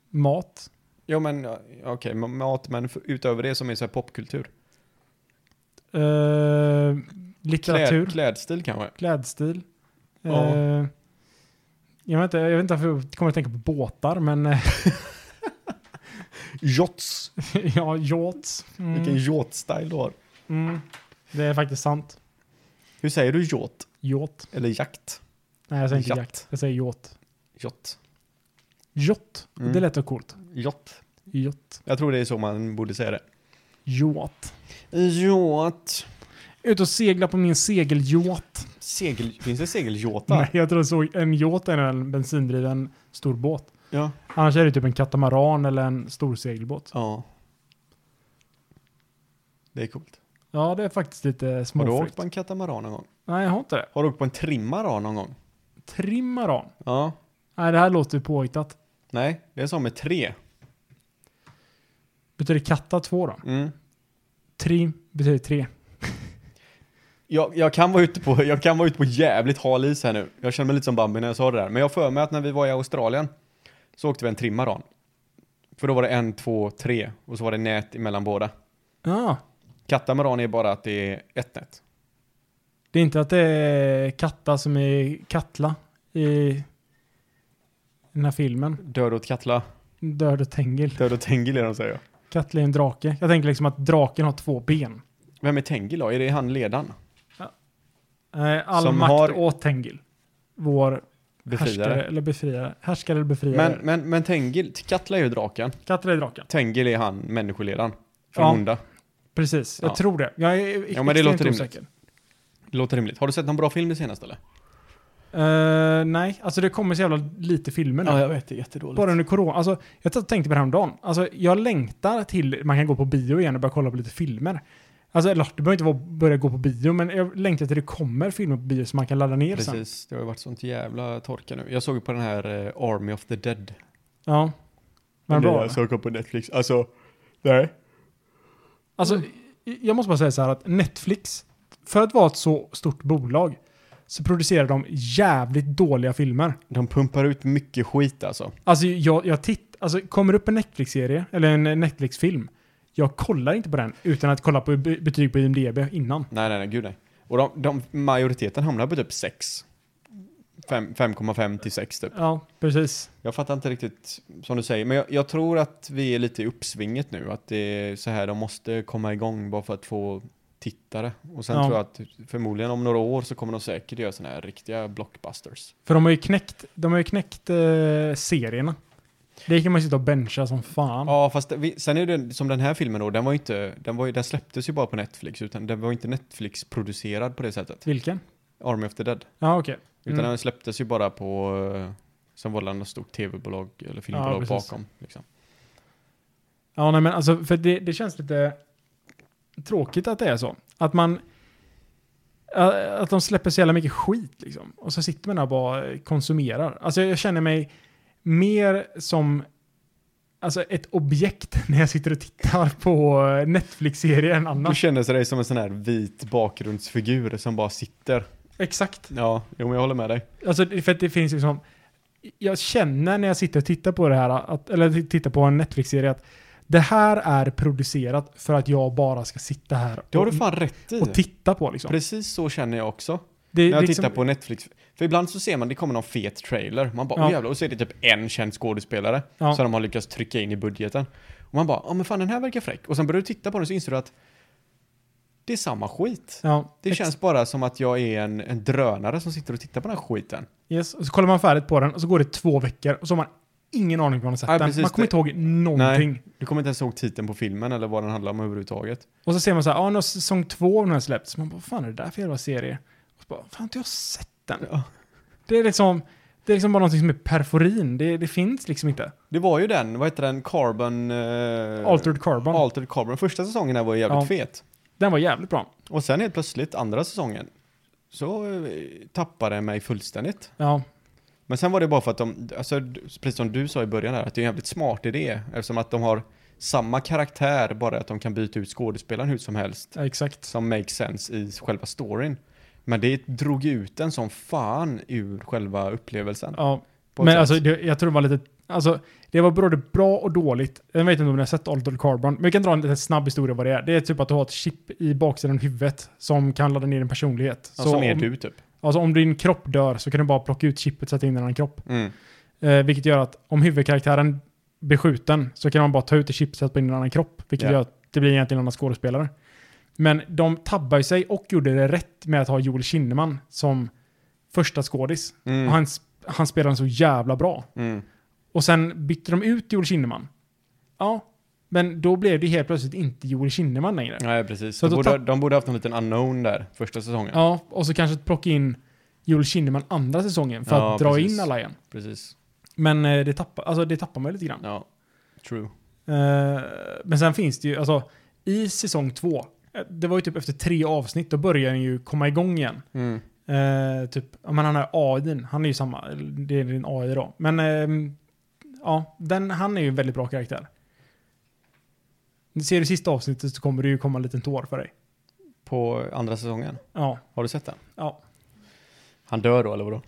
Mat. Ja men ja, okej, ma- mat men f- utöver det som är så här popkultur. Eh, Kläd, litteratur. klädstil kanske? Klädstil. Ja. Eh, jag vet inte, jag vet inte varför jag kommer att tänka på båtar, men eh, Jots! ja, yachts. Vilken Mm, yacht-style du har. mm. Det är faktiskt sant. Hur säger du yacht? Yacht. Eller jakt? Nej, jag säger inte Yacht. jakt. Jag säger yacht. Yacht. Jott. Mm. Det lät så coolt. Yacht. Jott. Jag tror det är så man borde säga det. Jåt. Jåt. Ut och segla på min segeljåt. Segel... Finns det segeljåtar? Nej, jag tror jag såg en jåt är en bensindriven stor båt. Ja. Annars är det typ en katamaran eller en stor segelbåt. Ja. Det är coolt. Ja, det är faktiskt lite Har du åkt småfräckt. på en katamaran någon gång? Nej, jag har inte det. Har du åkt på en trimmaran någon gång? Trimaran. Ja. Nej, det här låter ju påhittat. Nej, det är som med tre. Betyder katta två då? Mm. Trim betyder tre. Jag, jag, kan vara ute på, jag kan vara ute på jävligt hal is här nu. Jag känner mig lite som Bambi när jag sa det där. Men jag har för mig att när vi var i Australien så åkte vi en trimmaran. För då var det en, två, tre och så var det nät emellan båda. Ja, Katamaran är bara att det är ett nät. det är inte att det är katta som är kattla i den här filmen. Död åt Katla. Död och Tengil. Död åt Tengil är de säger jag. Kattla är en drake. Jag tänker liksom att draken har två ben. Vem är Tengil då? Är det han ledaren? Eh, All Som makt har- åt Tengil. Vår härskare Befriare? eller befriare. Härskare eller befriare. Men, men, men Tengil, Katla är ju draken. Kattla är draken. Tengil är han, människoledaren. Från Ja. onda. Precis, jag Ja. tror det. Jag är Ja, men det extremt låter rimligt. osäker. Det låter rimligt. Har du sett någon bra film det senaste eller? Eh, nej, alltså det kommer så jävla lite filmer nu. jag vet. Det är jättedåligt. Bara under corona. Alltså, jag t- tänkte på det häromdagen. Alltså, jag längtar till man kan gå på bio igen och börja kolla på lite filmer. Alltså, eller, det behöver inte vara börja gå på bio, men jag längtar till det kommer filmer på bio som man kan ladda ner sen. Precis, det har ju varit sånt jävla torka nu. Jag såg ju på den här eh, Army of the Dead. Ja. Men bra. Jag såg på Netflix. Alltså, nej. Alltså, i- jag måste bara säga så här att Netflix, för att vara ett så stort bolag, så producerar de jävligt dåliga filmer. De pumpar ut mycket skit alltså. Alltså, jag, jag titt, alltså kommer det upp en Netflix-serie, eller en Netflix-film, jag kollar inte på den utan att kolla på be- betyg på IMDB innan. Nej, nej, nej, gud nej. Och de, de, majoriteten hamnar på typ 6. 5,5 till 6 typ. Ja, precis. Jag fattar inte riktigt som du säger, men jag, jag tror att vi är lite i uppsvinget nu. Att det är så här de måste komma igång bara för att få tittare. Och sen Ja. tror jag att förmodligen om några år så kommer de säkert göra såna här riktiga blockbusters. För de har ju knäckt, de har ju knäckt eh, serierna. Det kan man ju sitta och bencha som fan. Ja, fast vi, sen är det som den här filmen då, den var ju inte, den, var ju, den släpptes ju bara på Netflix, utan den var ju inte Netflix-producerad på det sättet. Vilken? Army of the Dead. Ja, okej. Utan Mm. den släpptes ju bara på, eh, som var det något stort tv-bolag eller filmbolag precis. bakom. Liksom. Ja, nej men alltså, för det, det känns lite tråkigt att det är så. Att man... eh, Att de släpper så jävla mycket skit liksom. Och så sitter man där och bara konsumerar. Alltså jag känner mig mer som alltså, ett objekt när jag sitter och tittar på eh, Netflix-serier än Du annars. känner dig som en sån här vit bakgrundsfigur som bara sitter. Exakt. Ja, jo men jag håller med dig. Alltså det- för att det finns liksom... Jag känner när jag sitter och tittar på det här, att, eller t- tittar på en Netflix-serie, att det här är producerat för att jag bara ska sitta här Det har du och- fan rätt i. och titta på liksom. Precis så känner jag också. Det, När jag liksom- tittar på Netflix. För ibland så ser man, det kommer någon fet trailer. Man bara, Ja. åh jävlar. Och så är det typ en känd skådespelare. Ja. Som de har lyckats trycka in i budgeten. Och man bara, ja men fan den här verkar fräck. Och sen börjar du titta på den så inser du att det är samma skit. Ja, Det ex- känns bara som att jag är en, en drönare som sitter och tittar på den här skiten. Yes. Och så kollar man färdigt på den och så går det två veckor och så har man ingen aning om man har sett Nej, den. precis, man kommer det- inte ihåg någonting. Du kommer inte ens ihåg titeln på filmen eller vad den handlar om överhuvudtaget. Och så ser man så här, ja, nu har säsong två av den här släppts. Man bara, vad fan är det där för jävla serie? Och så bara, fan inte jag har sett den. Ja. Det är liksom, det är liksom bara någonting som är perforin. Det, det finns liksom inte. Det var ju den, vad heter den, Carbon... eh, Altered Carbon. Altered Carbon. Första säsongen här var ju jävligt Ja. fet. den var jävligt bra. Och sen helt plötsligt, andra säsongen, så eh, tappade den mig fullständigt. Ja, Men sen var det bara för att de, alltså, d- precis som du sa i början här, att det är en jävligt smart idé. Eftersom att de har samma karaktär, bara att de kan byta ut skådespelaren hur som helst. ja, exakt. Som makes sense i själva storyn. Men det drog ju ut en som fan ur själva upplevelsen. Ja. på ett Men sätt. alltså, det, jag tror det var lite, alltså, det var både bra och dåligt. Jag vet inte om ni har sett Altered Carbon, men vi kan dra en liten snabb historia vad det är. Det är typ att du har ett chip i baksidan av huvudet som kan ladda ner din personlighet. Ja, som är om, du typ. Alltså om din kropp dör så kan du bara plocka ut chippet och sätta in i en annan kropp. Mm. Eh, vilket gör att om huvudkaraktären blir skjuten så kan man bara ta ut det chipset och sätta in i en annan kropp. Vilket Ja. gör att det blir egentligen en annan skådespelare. Men de tabbar ju sig och gjorde det rätt med att ha Joel Kinnaman som första skådis. Mm. Och han, sp- han spelade den så jävla bra. Mm. Och sen bytte de ut Joel Kinnaman. Ja. Men då blev det helt plötsligt inte Joel Kinnaman längre. Nej, precis. Så de, då borde, tapp- de borde haft en liten unknown där, första säsongen. Ja, och så kanske plocka in Joel Kinnaman andra säsongen för Ja, att dra precis. in alla igen. Precis. Men eh, det tappar, alltså, det tappar man ju lite grann. Ja. True. Eh, men sen finns det ju, alltså i säsong två, eh, det var ju typ efter tre avsnitt, då börjar den ju komma igång igen. Mm. Eh, typ, ja men han är AI, han är ju samma, det är en AI då. Men ehm, ja, den, han är ju en väldigt bra karaktär. Ser du sista avsnittet så kommer det ju komma en liten tår för dig. På andra säsongen. Ja, Har du sett den? ja. Han dör då, eller vadå?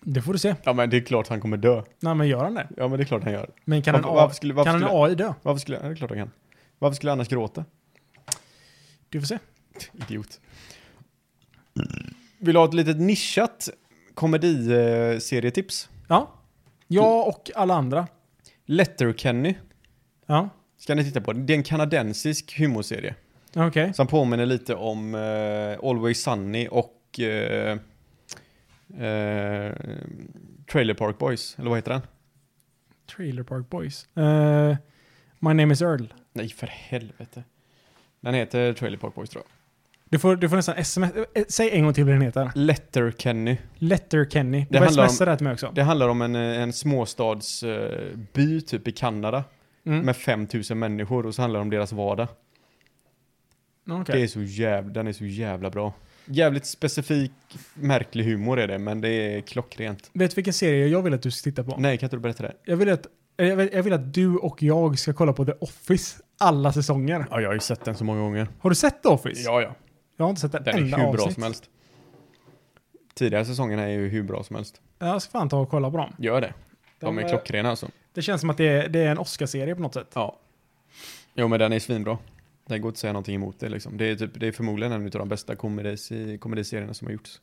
Det får du se. Ja, men det är klart han kommer dö. Nej men gör han det? Ja, men det är klart han gör. Men kan en varför, varför AI, skulle, varför kan en skulle, AI dö? varför skulle, ja, det är klart han kan. Varför skulle han annars gråta? Du får se. Idiot. Vill du ha ett litet nischat komediserietips? Ja. Jag och alla andra. Letterkenny Ja, ska ni titta på. Det är en kanadensisk humorserie okej. som påminner lite om eh, Always Sunny och eh, eh, Trailer Park Boys, eller vad heter den? Trailer Park Boys. Eh, my name is Earl. Nej, för helvete. Den heter Trailer Park Boys tror jag. Du får, du får nästan sms... eh, Säg en gång till vad den heter. Letterkenny. Letter Kenny. Det Du får handlar om- smsa det här till mig också. Det handlar om en, eh, en småstadsby typ i Kanada Mm. med 5000 människor och så handlar det om deras vardag. Okej. Det är så jävla, den är så jävla bra. Jävligt specifik, märklig humor är det, men det är klockrent. Vet du vilken serie jag vill att du ska titta på? Nej, kan inte du berätta det? Jag vill, att, eh, jag, vill, jag vill att du och jag ska kolla på The Office alla säsonger. Ja, jag har ju sett den så många gånger. Har du sett The Office? Ja, ja. Jag har inte sett ett Den är enda hur bra avsnitt. som helst. Tidigare säsongerna är ju hur bra som helst. Jag ska fan ta och kolla på dem. Gör det. De De är är- klockrena alltså. Det känns som att det är, det är en Oscar-serie på något sätt. Ja. Jo, men den är svinbra. Det går inte att säga någonting emot det liksom. Det är, typ, det är förmodligen en av de bästa komedis- komediserierna som har gjorts.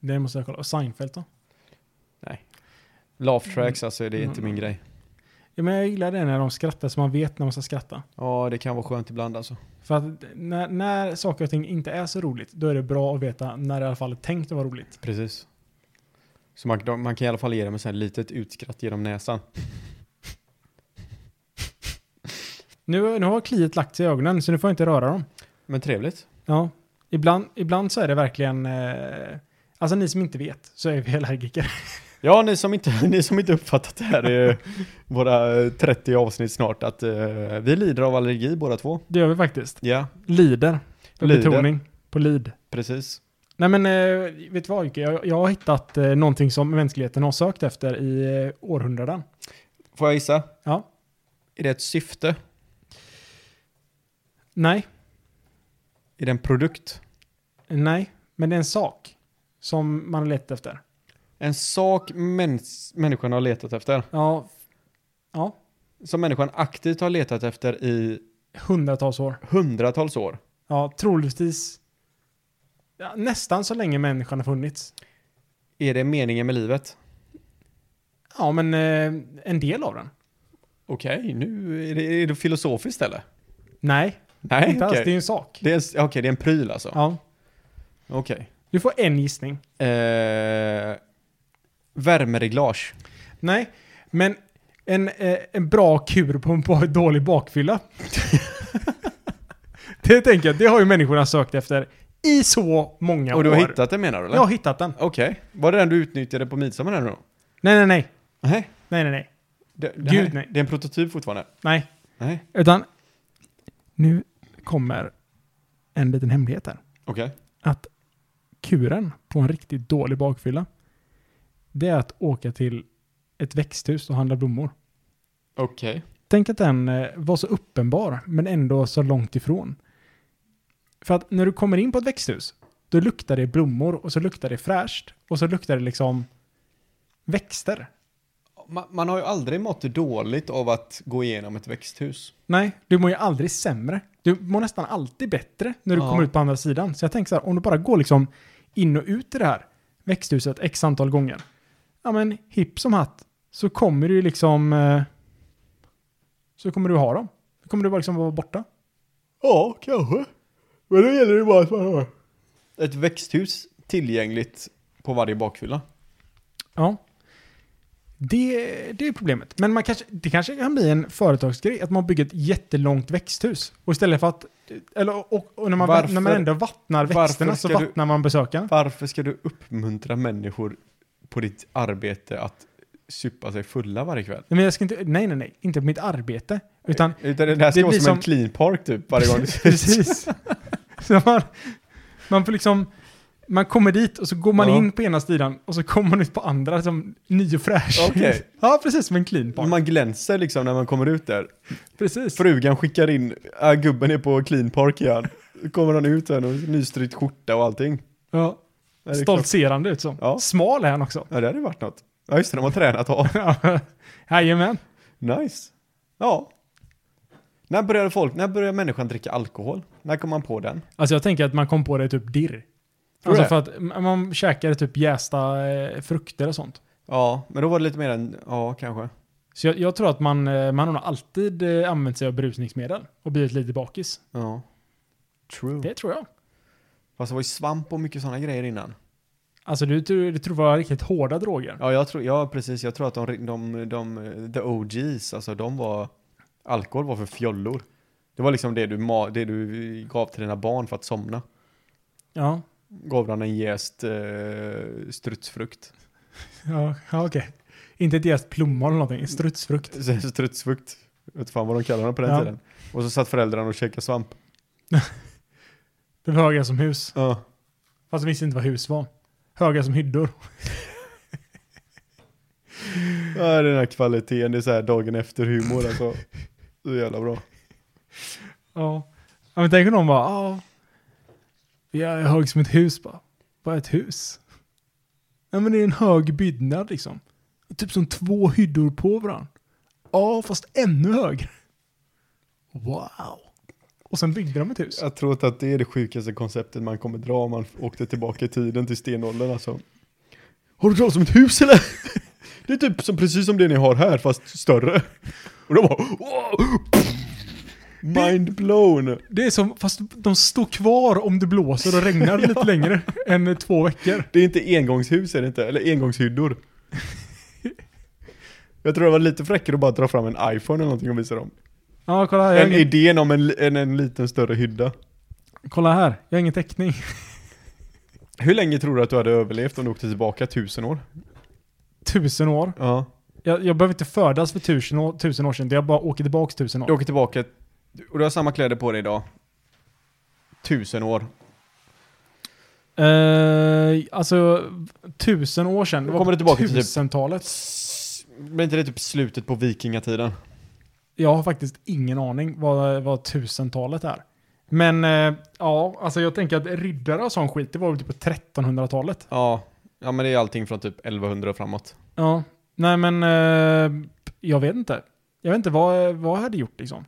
Det måste jag kolla. Och Seinfeld då? Laugh tracks, alltså det är inte Mm. min grej. Ja, men jag gillar det när de skrattar så man vet när man ska skratta. Ja, det kan vara skönt ibland alltså. För att när, när saker och ting inte är så roligt, då är det bra att veta när det i alla fall är tänkt att vara roligt. Precis. Så man, de- man kan i alla fall ge dem ett sånt här litet utskratt genom näsan. Nu, nu har kliet lagt sig i ögonen, så nu får jag inte röra dem. Men trevligt. Ja, ibland, ibland så är det verkligen... Eh, alltså ni som inte vet, så är vi allergiker. Ja, ni som inte, ni som inte uppfattat det här är våra eh, 30 avsnitt snart att eh, vi lider av allergi båda två. Det gör vi faktiskt. Ja, Lider. För Lider. betoning på lid. precis. Nej men, eh, vet du vad Jocke? Jag, jag har hittat eh, någonting som mänskligheten har sökt efter i eh, århundraden. Får jag gissa? Ja. Är det ett syfte? Nej, Är det en produkt? nej, men det är en sak som man har letat efter. En sak mäns- människan har letat efter? Ja, ja, Som människan aktivt har letat efter i hundratals år. hundratals år? Ja, troligtvis ja, nästan så länge människan har funnits. Är det meningen med livet? Ja, men eh, en del av den. Okej, nu är det, är det filosofiskt eller? Nej, Nej, inte alls. okej. Det är ju en sak. Det är, en s- okej, det är en pryl alltså? Ja. Okej. Du får en gissning. Eh, värmereglage. Nej, men en, eh, en bra kur på en ba- dålig bakfylla. det tänker jag, det har ju människorna sökt efter i så många Och du har år. hittat den menar du? Eller? Jag har hittat den. Okej. Var det den du utnyttjade på midsommar här nu då? Nej, nej, nej. Nej. Nej, nej, nej. Det, det, Gud, här- nej. det är en prototyp fortfarande? Nej. Nej. Utan, nu kommer en liten hemlighet här. Okej. Kuren på en riktigt dålig bakfylla, det är att åka till ett växthus och handla blommor. Okej. Tänk att den eh, var så uppenbar, men ändå så långt ifrån. För att när du kommer in på ett växthus, då luktar det blommor och så luktar det fräscht och så luktar det liksom växter. Man, man har ju aldrig mått dåligt av att gå igenom ett växthus. Nej, du mår ju aldrig sämre. Du mår nästan alltid bättre när du Ja. kommer ut på andra sidan. Så jag tänker så här, om du bara går liksom in och ut i det här växthuset x antal gånger. Ja men hipp som hatt så kommer du ju liksom... eh, Så kommer du ha dem. Då kommer du bara liksom vara borta. Ja, kanske. Men då gäller det bara att man har ett växthus tillgängligt på varje bakfylla. Ja. Det, det är problemet. Men man kanske, det kanske kan bli en företagsgrej, att man bygger ett jättelångt växthus. Och istället för att... Eller, och, och när, man, Varför- när man ändå vattnar varför växterna så ska du- vattnar man besökarna. Varför ska du uppmuntra människor på ditt arbete att supa sig fulla varje kväll? Nej, men jag ska inte, nej, nej, nej. Inte på mitt arbete. Utan Utan det där ska det vara blir som, en som- clean park typ varje gång du Precis. Så man, man får liksom, man kommer dit och så går man Ja. in på ena sidan och så kommer man ut på andra som ny och fräsch. Okej. Ja, precis som en clean park. Man glänser liksom när man kommer ut där. precis. Frugan skickar in, äh, gubben är på clean park igen. Då Kommer han ut här och nystryckt skjorta och allting. ja. Ja, det är klart. Stoltserande ut som. Ja. Smal är han också. Ja, det hade ju varit något. Ja, just det, de har tränat av. Ja. Jajamän. Nice. Ja. När började folk, när började människan dricka alkohol? När kom man på den? Alltså jag tänker att man kom på det typ dirr. Tror Alltså det? för att m- man käkade typ jästa eh, frukter och sånt. Ja, men då var det lite mer än, ja kanske. Så jag, jag tror att man, eh, man har nog alltid eh, använt sig av berusningsmedel och blivit lite bakis. Ja. True. Det tror jag. Fast det var ju svamp och mycket sådana grejer innan. Alltså du, tror- du tror det var riktigt hårda droger. Ja, jag tror, ja precis. Jag tror att de, de, de, the OGs, alltså de var, alkohol var för fjollor. Det var liksom det du, ma- det du gav till dina barn för att somna. Ja, Gav han en jäst eh, strutsfrukt. ja, ja okej. Inte ett jäst plommon eller någonting, strutsfrukt. strutsfrukt. Jag vet fan vad de kallade den på den Ja. tiden. Och så satt föräldrarna och käkade svamp. Det var höga som hus. Ja. Fast de visste inte vad hus var. Höga som hyddor. Ja, den här kvaliteten, det är så här dagen efter humor alltså. Så jävla bra. Ja. ja men tänk om någon bara, ja. Jag är hög som ett hus bara. Vad är ett hus? Ja men det är en hög byggnad liksom. Typ som två hyddor på varandra. Ja, fast ännu högre. Wow. Och sen byggde de ett hus. Jag tror inte att det är det sjukaste konceptet man kommer dra om man åkte tillbaka i tiden till stenåldern alltså. Har du talat om ett hus eller? Det är typ som precis som det ni har här fast större. Och de bara wow! Mind blown! Det är som, fast de står kvar om det blåser och regnar lite längre än två veckor. Det är inte engångshus är det inte, eller engångshyddor. Jag tror det var lite fräckare att bara dra fram en iPhone eller någonting och visa dem. Ja, kolla här. Jag har En ingen, idén om en, li- en, en liten större hydda. kolla här. Jag har ingen täckning. Hur länge tror du att du hade överlevt om du åkte tillbaka tusen år? Tusen år. Ja. Jag, jag behöver inte födas för tusen år, tusen år sedan. Jag bara åker tillbaka tusen Du år. åker tillbaka och du har samma kläder på dig idag. Tusen år. Eh, alltså, tusen år sedan. Det Då var kommer på du tillbaka till typ- tusentalet. Blir inte det typ slutet på vikingatiden? Jag har faktiskt ingen aning vad, vad tusentalet är. Men eh, ja, alltså jag tänker att riddare och sån skit, det var väl typ på 1300-talet. Ja. Ja men det är allting från typ 1100 och framåt. Ja, nej men eh, jag vet inte. Jag vet inte vad, vad jag hade gjort liksom.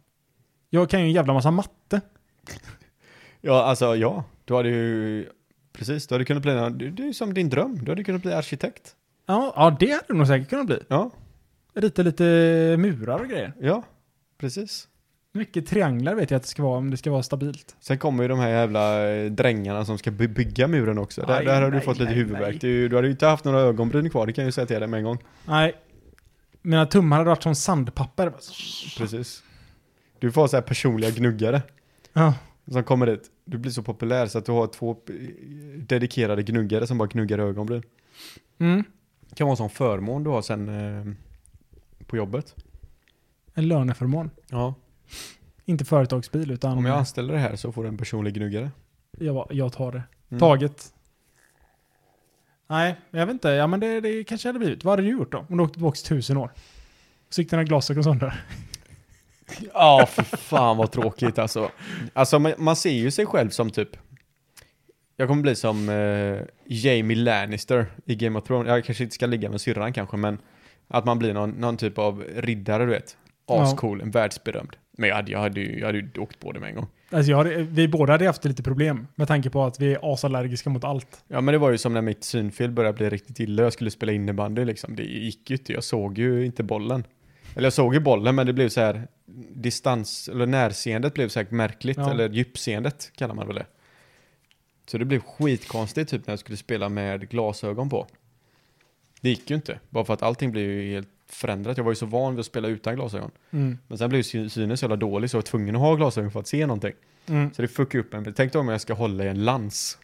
Jag kan ju en jävla massa matte. Ja alltså ja. Du hade ju... Precis, du hade kunnat bli... Det det är ju som din dröm. Du hade kunnat bli arkitekt. Ja, ja det hade det nog säkert kunnat bli. Ja. Rita lite murar och grejer. Ja. Precis. Mycket trianglar vet jag att det ska vara om det ska vara stabilt. Sen kommer ju de här jävla eh, drängarna som ska by- bygga muren också. Där, Aj, där har du nej, fått lite nej, huvudvärk. nej. Det är ju- Du hade ju inte haft några ögonbryn kvar, det kan jag ju säga till dig med en gång. Nej, mina tummar hade varit som sandpapper. alltså. Precis. Du får så här personliga gnuggare Ja, som kommer dit. Du blir så populär så att du har två eh, dedikerade gnuggare som bara gnuggar ögonbryn. mm. Det kan vara en sån förmån du har sen eh, på jobbet. en löneförmån. Ja. Inte företagsbil utan Om jag anställer dig här så får du en personlig gnuggare. jag, bara, jag tar det. Mm. Taget. Nej, jag vet inte. Ja, men det, det kanske hade blivit. Vad hade du gjort då? Om du åkte tillbaka tusen år? Så gick dina glasögon sönder. Ja, för fan vad tråkigt alltså. Alltså man, man ser ju sig själv som typ jag kommer bli som eh, Jamie Lannister i Game of Thrones. Jag kanske inte ska ligga med syrran kanske, men att man blir någon, någon typ av riddare, du vet. Ja. Ascool, en världsberömd. Men jag hade, jag, hade ju, jag hade ju åkt på det med en gång. Alltså jag hade, vi båda hade haft lite problem med tanke på att vi är asallergiska mot allt. Ja, men det var ju som när mitt synfel började bli riktigt illa. Jag skulle spela innebandy liksom. Det gick ju inte. Jag såg ju inte bollen. Eller jag såg ju bollen, men det blev så här distans, eller närseendet blev säkert märkligt, Ja. eller djupseendet kallar man väl det. Så det blev skitkonstigt typ när jag skulle spela med glasögon på. Det gick ju inte, bara för att allting blev ju helt förändrat. Jag var ju så van vid att spela utan glasögon. Mm. Men sen blev ju sy- synen så jävla dålig så jag var tvungen att ha glasögon för att se någonting. Mm. Så det fuckade upp en. Tänk dig om jag ska hålla i en lans.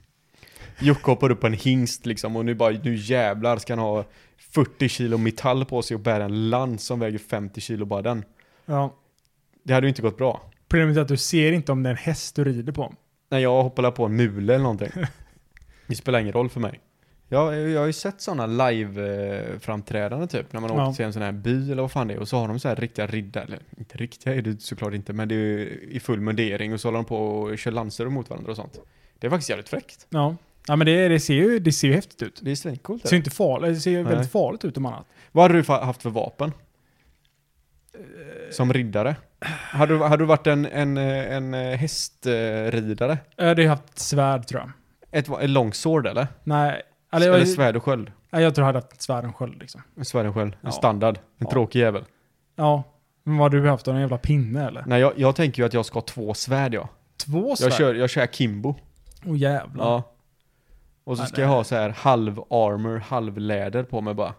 Jocke hoppar upp på en hingst liksom och nu bara, nu jävlar ska han ha 40 kilo metall på sig och bära en lans som väger 50 kilo bara den. Ja. Det hade ju inte gått bra. Problemet är att du ser inte om det är en häst du rider på. När jag hoppade på en mule eller någonting. Det spelar ingen roll för mig. Jag, jag har ju sett sådana live-framträdanden typ, när man Ja. åker till en sån här by eller vad fan det är och så har de så här riktiga riddare, eller inte riktiga är det såklart inte, men det är ju i full mundering och så håller de på och kör lanser mot varandra och sånt. Det är faktiskt jävligt fräckt. Ja. Ja men det, det, ser, ju, det ser ju häftigt ut. Det är svincoolt. Det ser ju inte farligt, det ser ju Nej. väldigt farligt ut om annat. Vad hade du fa- haft för vapen? Som riddare? Hade du, hade du varit en, en, eh, en eh, hästridare? Jag hade ju haft ett svärd tror jag. Ett, va- ett longsword eller? Nej, eller, Eller, jag, svärd och sköld? nej, jag tror jag hade haft ett svärd och en sköld liksom. En Svärd och sköld. En Ja. standard. En Ja. tråkig jävel. Ja, men vad har du behövt då? En jävla pinne eller? Nej, jag, jag tänker ju att jag ska ha två svärd jag. Två svärd? Jag kör, jag kör Kimbo. Åh jävlar. Ja. Och så Nej, ska det- jag ha så här halv armor, halv läder på mig bara.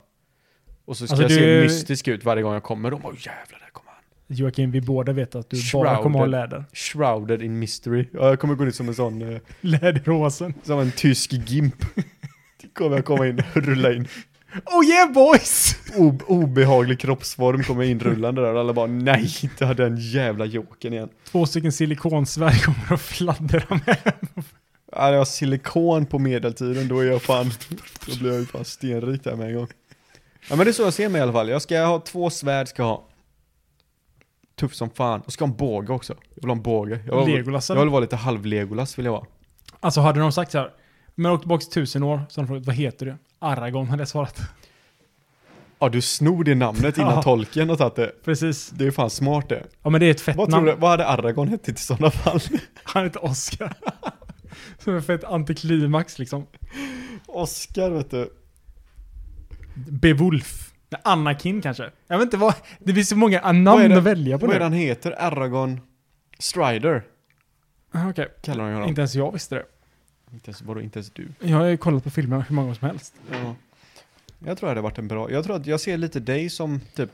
Och så ska Alltså, jag se du- mystisk ut varje gång jag kommer. De bara "Åh, jävlar, där kommer han. Joakim, vi båda vet att du bara Shrouded. kommer ha läder. Shrouded in mystery. Ja, jag kommer gå ut som en sån... eh, Läderrosen. Som en tysk gimp. Det kommer jag komma in, rulla in. Oh yeah boys! O- obehaglig kroppsform kommer in rullande där och alla bara nej, inte har den jävla joken igen. Två stycken silikonsvärd kommer att fladdra med. Hade jag silikon på medeltiden då är jag fan, då blir jag ju fan stenrik där med en gång. Ja men det är så jag ser mig i alla fall. Jag ska ha två svärd, ska jag ha. Tuff som fan. Och ska ha en båge också. Jag vill ha en båge. Jag vill, Legolas jag eller? vill vara lite halv-Legolas vill jag vara. Alltså hade de sagt så här, men åkt tillbaka tusen år, så hade de frågat vad heter du? Aragorn hade jag svarat. Ja du snor det namnet Ja. innan tolken har tagit det. Precis. Det är fan smart det. Ja men det är ett fett Vad, tror namn. du, vad hade Aragorn hett i sådana fall? Han heter Oscar. Som är fett antiklimax liksom. Oscar vet du. Beowulf. Nej, Anakin kanske. Jag vet inte vad, det finns så många Vad är namn det- att välja på Vad är det nu. han heter? Aragorn Strider Ah, Okej, kallar han ju honom. inte ens jag visste det. Inte ens, vadå, inte ens du? Jag har ju kollat på filmerna hur många gånger som helst. Ja. Jag tror det hade varit en bra, jag tror att jag ser lite dig som typ,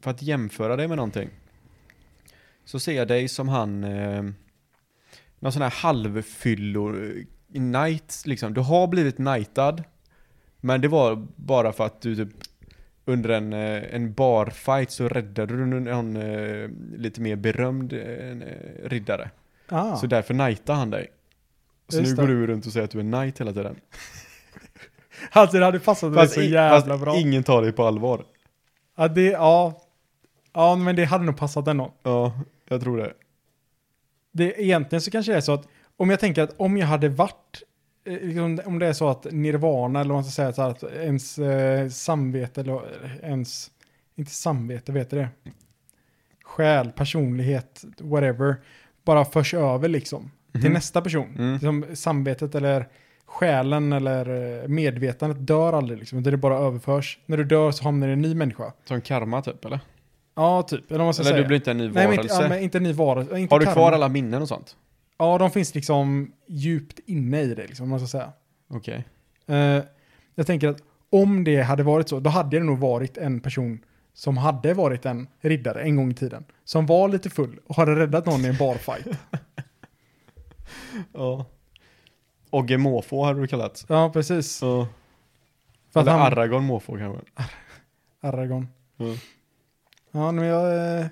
för att jämföra dig med någonting. Så ser jag dig som han, eh, någon sån här halvfyllor, eh, knight liksom. Du har blivit knightad, men det var bara för att du typ under en, eh, en barfight så räddade du någon eh, lite mer berömd eh, riddare. Ah. Så därför knightar han dig. Så Just nu det. går du runt och säger att du är knight hela tiden. Alltså det hade passat dig så i- jävla fast bra. ingen tar dig på allvar. Ja, det, ja. ja, men det hade nog passat ändå. Ja, jag tror det. Det, egentligen så kanske det är så att om jag tänker att om jag hade varit, eh, liksom, om det är så att nirvana eller vad man ska säga, så här, att ens eh, samvete eller ens, inte samvete, vet du det? Själ, personlighet, whatever, bara förs över liksom till nästa person. Mm. Liksom, samvetet eller själen eller eh, medvetandet dör aldrig liksom, utan det bara överförs. När du dör så hamnar det i en ny människa. Som karma typ eller? Ja, typ. Eller vad man ska Eller säga. du blir inte en ny Nej, men inte, varelse? ja, men inte en ny varelse. Inte har du karma. kvar alla minnen och sånt? Ja, de finns liksom djupt inne i det, liksom, om man ska säga. Okej. Eh, jag tänker att om det hade varit så, då hade det nog varit en person som hade varit en riddare en gång i tiden. Som var lite full och hade räddat någon i en barfight. Ja. Ogge måfå hade du kallat. ja, precis. Ja. För att Eller han... Aragorn måfå kanske. Aragorn. Mm. Ja, men jag... eh,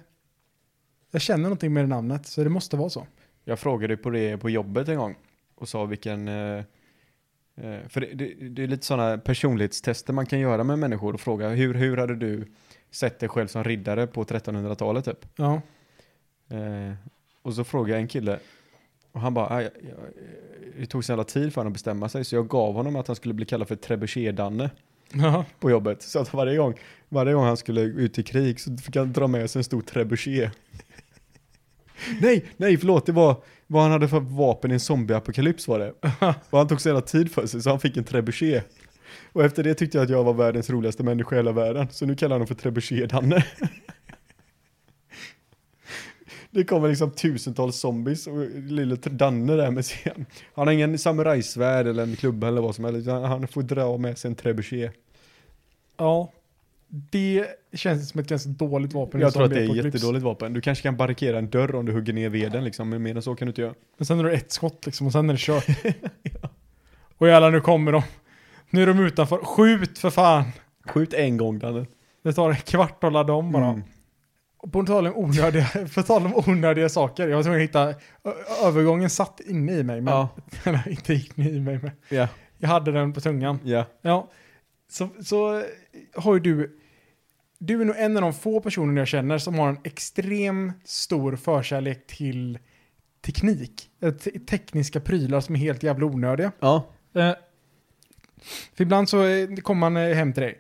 Jag känner någonting med det namnet, så det måste vara så. Jag frågade på det på jobbet en gång och sa vilken... eh, eh, För det, det, det är lite sådana personlighetstester man kan göra med människor och fråga hur, hur hade du sett dig själv som riddare på 1300-talet typ? Ja. Eh, och så frågade jag en kille och han bara, "Ah, jag, jag, det tog så jävla tid för honom att bestämma sig så jag gav honom att han skulle bli kallad för Trebuchet-Danne Ja. på jobbet. Så att varje gång, varje gång han skulle ut i krig så fick han dra med sig en stor Trebuchet. nej, nej förlåt, det var vad han hade för vapen i en zombieapokalyps var det. och han tog så jävla tid för sig så han fick en Trebuchet. Och efter det tyckte jag att jag var världens roligaste människa i hela världen. Så nu kallar han honom för Trebuchet-Danne. Det kommer liksom tusentals zombies och lille Danne där med sin. Han har ingen samurajsvärd eller en klubba eller vad som helst. Han, han får dra med sig en trebuchet. Ja. Det känns som ett ganska dåligt vapen. i Jag tror att det är ett zombieapokalyps. jättedåligt vapen. Du kanske kan barrikera en dörr om du hugger ner veden liksom, men mer än så kan du inte göra. Men sen har du ett skott liksom och sen är det kört. Och jävlar nu kommer de. Nu är de utanför. Skjut för fan! Skjut en gång Danne. Det tar en kvart att ladda om bara. Mm. Och På tal om onödiga, för tal om onödiga saker. Jag var tvungen att hitta, ö- övergången satt inne i mig men Ja, eller, inte inne i mig men ja, jag hade den på tungan. ja. Ja, så, så har ju du, du är nog en av de få personer jag känner som har en extrem stor förkärlek till teknik. Eh, te- tekniska prylar som är helt jävla onödiga. Ja, Eh, För ibland så eh, kommer man eh, hem till dig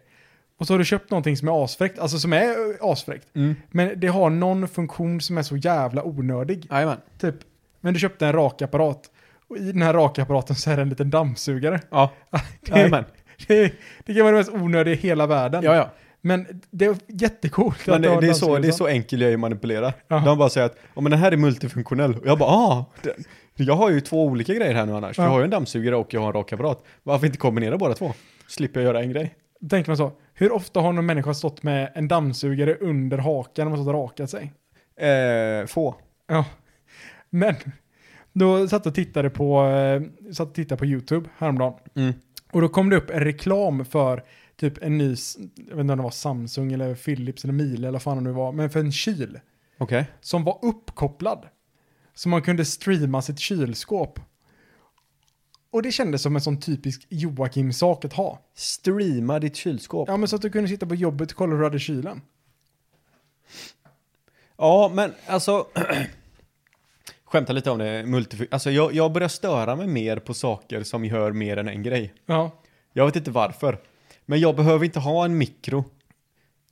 och så har du köpt någonting som är asfräckt, alltså som är eh, asfräckt, mm. men det har någon funktion som är så jävla onödig. Jajamän. Typ, men du köpte en rakapparat och i den här rakapparaten så är det en liten dammsugare. Ja, Det- jajamän. det, det kan vara det mest onödiga i hela världen. Ja, ja. Men det är jättecoolt. Men att ha det, en det, är så, det är dammsugare. så enkel jag är att manipulera. Ja. De bara säger att ja men den här är multifunktionell. Och jag bara ah, det, jag har ju två olika grejer här nu annars. Ja. Jag har ju en dammsugare och jag har en rakapparat. Varför inte kombinera båda två? Slipper jag göra en grej. Då tänker man så. Hur ofta har någon människa stått med en dammsugare under hakan och stått och rakat sig? Eh, få. Ja. Men, då satt jag och tittade på, eh, satt och tittade på YouTube häromdagen. Mm. Och då kom det upp en reklam för typ en ny, s- jag vet inte om det var Samsung eller Philips eller Miele eller vad fan det nu var, men för en kyl Okej. som var uppkopplad. Så man kunde streama sitt kylskåp. Och det kändes som en sån typisk Joakim-sak att ha. Streama ditt kylskåp. Ja, men så att du kunde sitta på jobbet och kolla hur du hade kylen. Ja, men alltså... Skämta lite om det. Multif- alltså, jag, jag börjar störa mig mer på saker som gör mer än en grej. Ja. Jag vet inte varför. Men jag behöver inte ha en mikro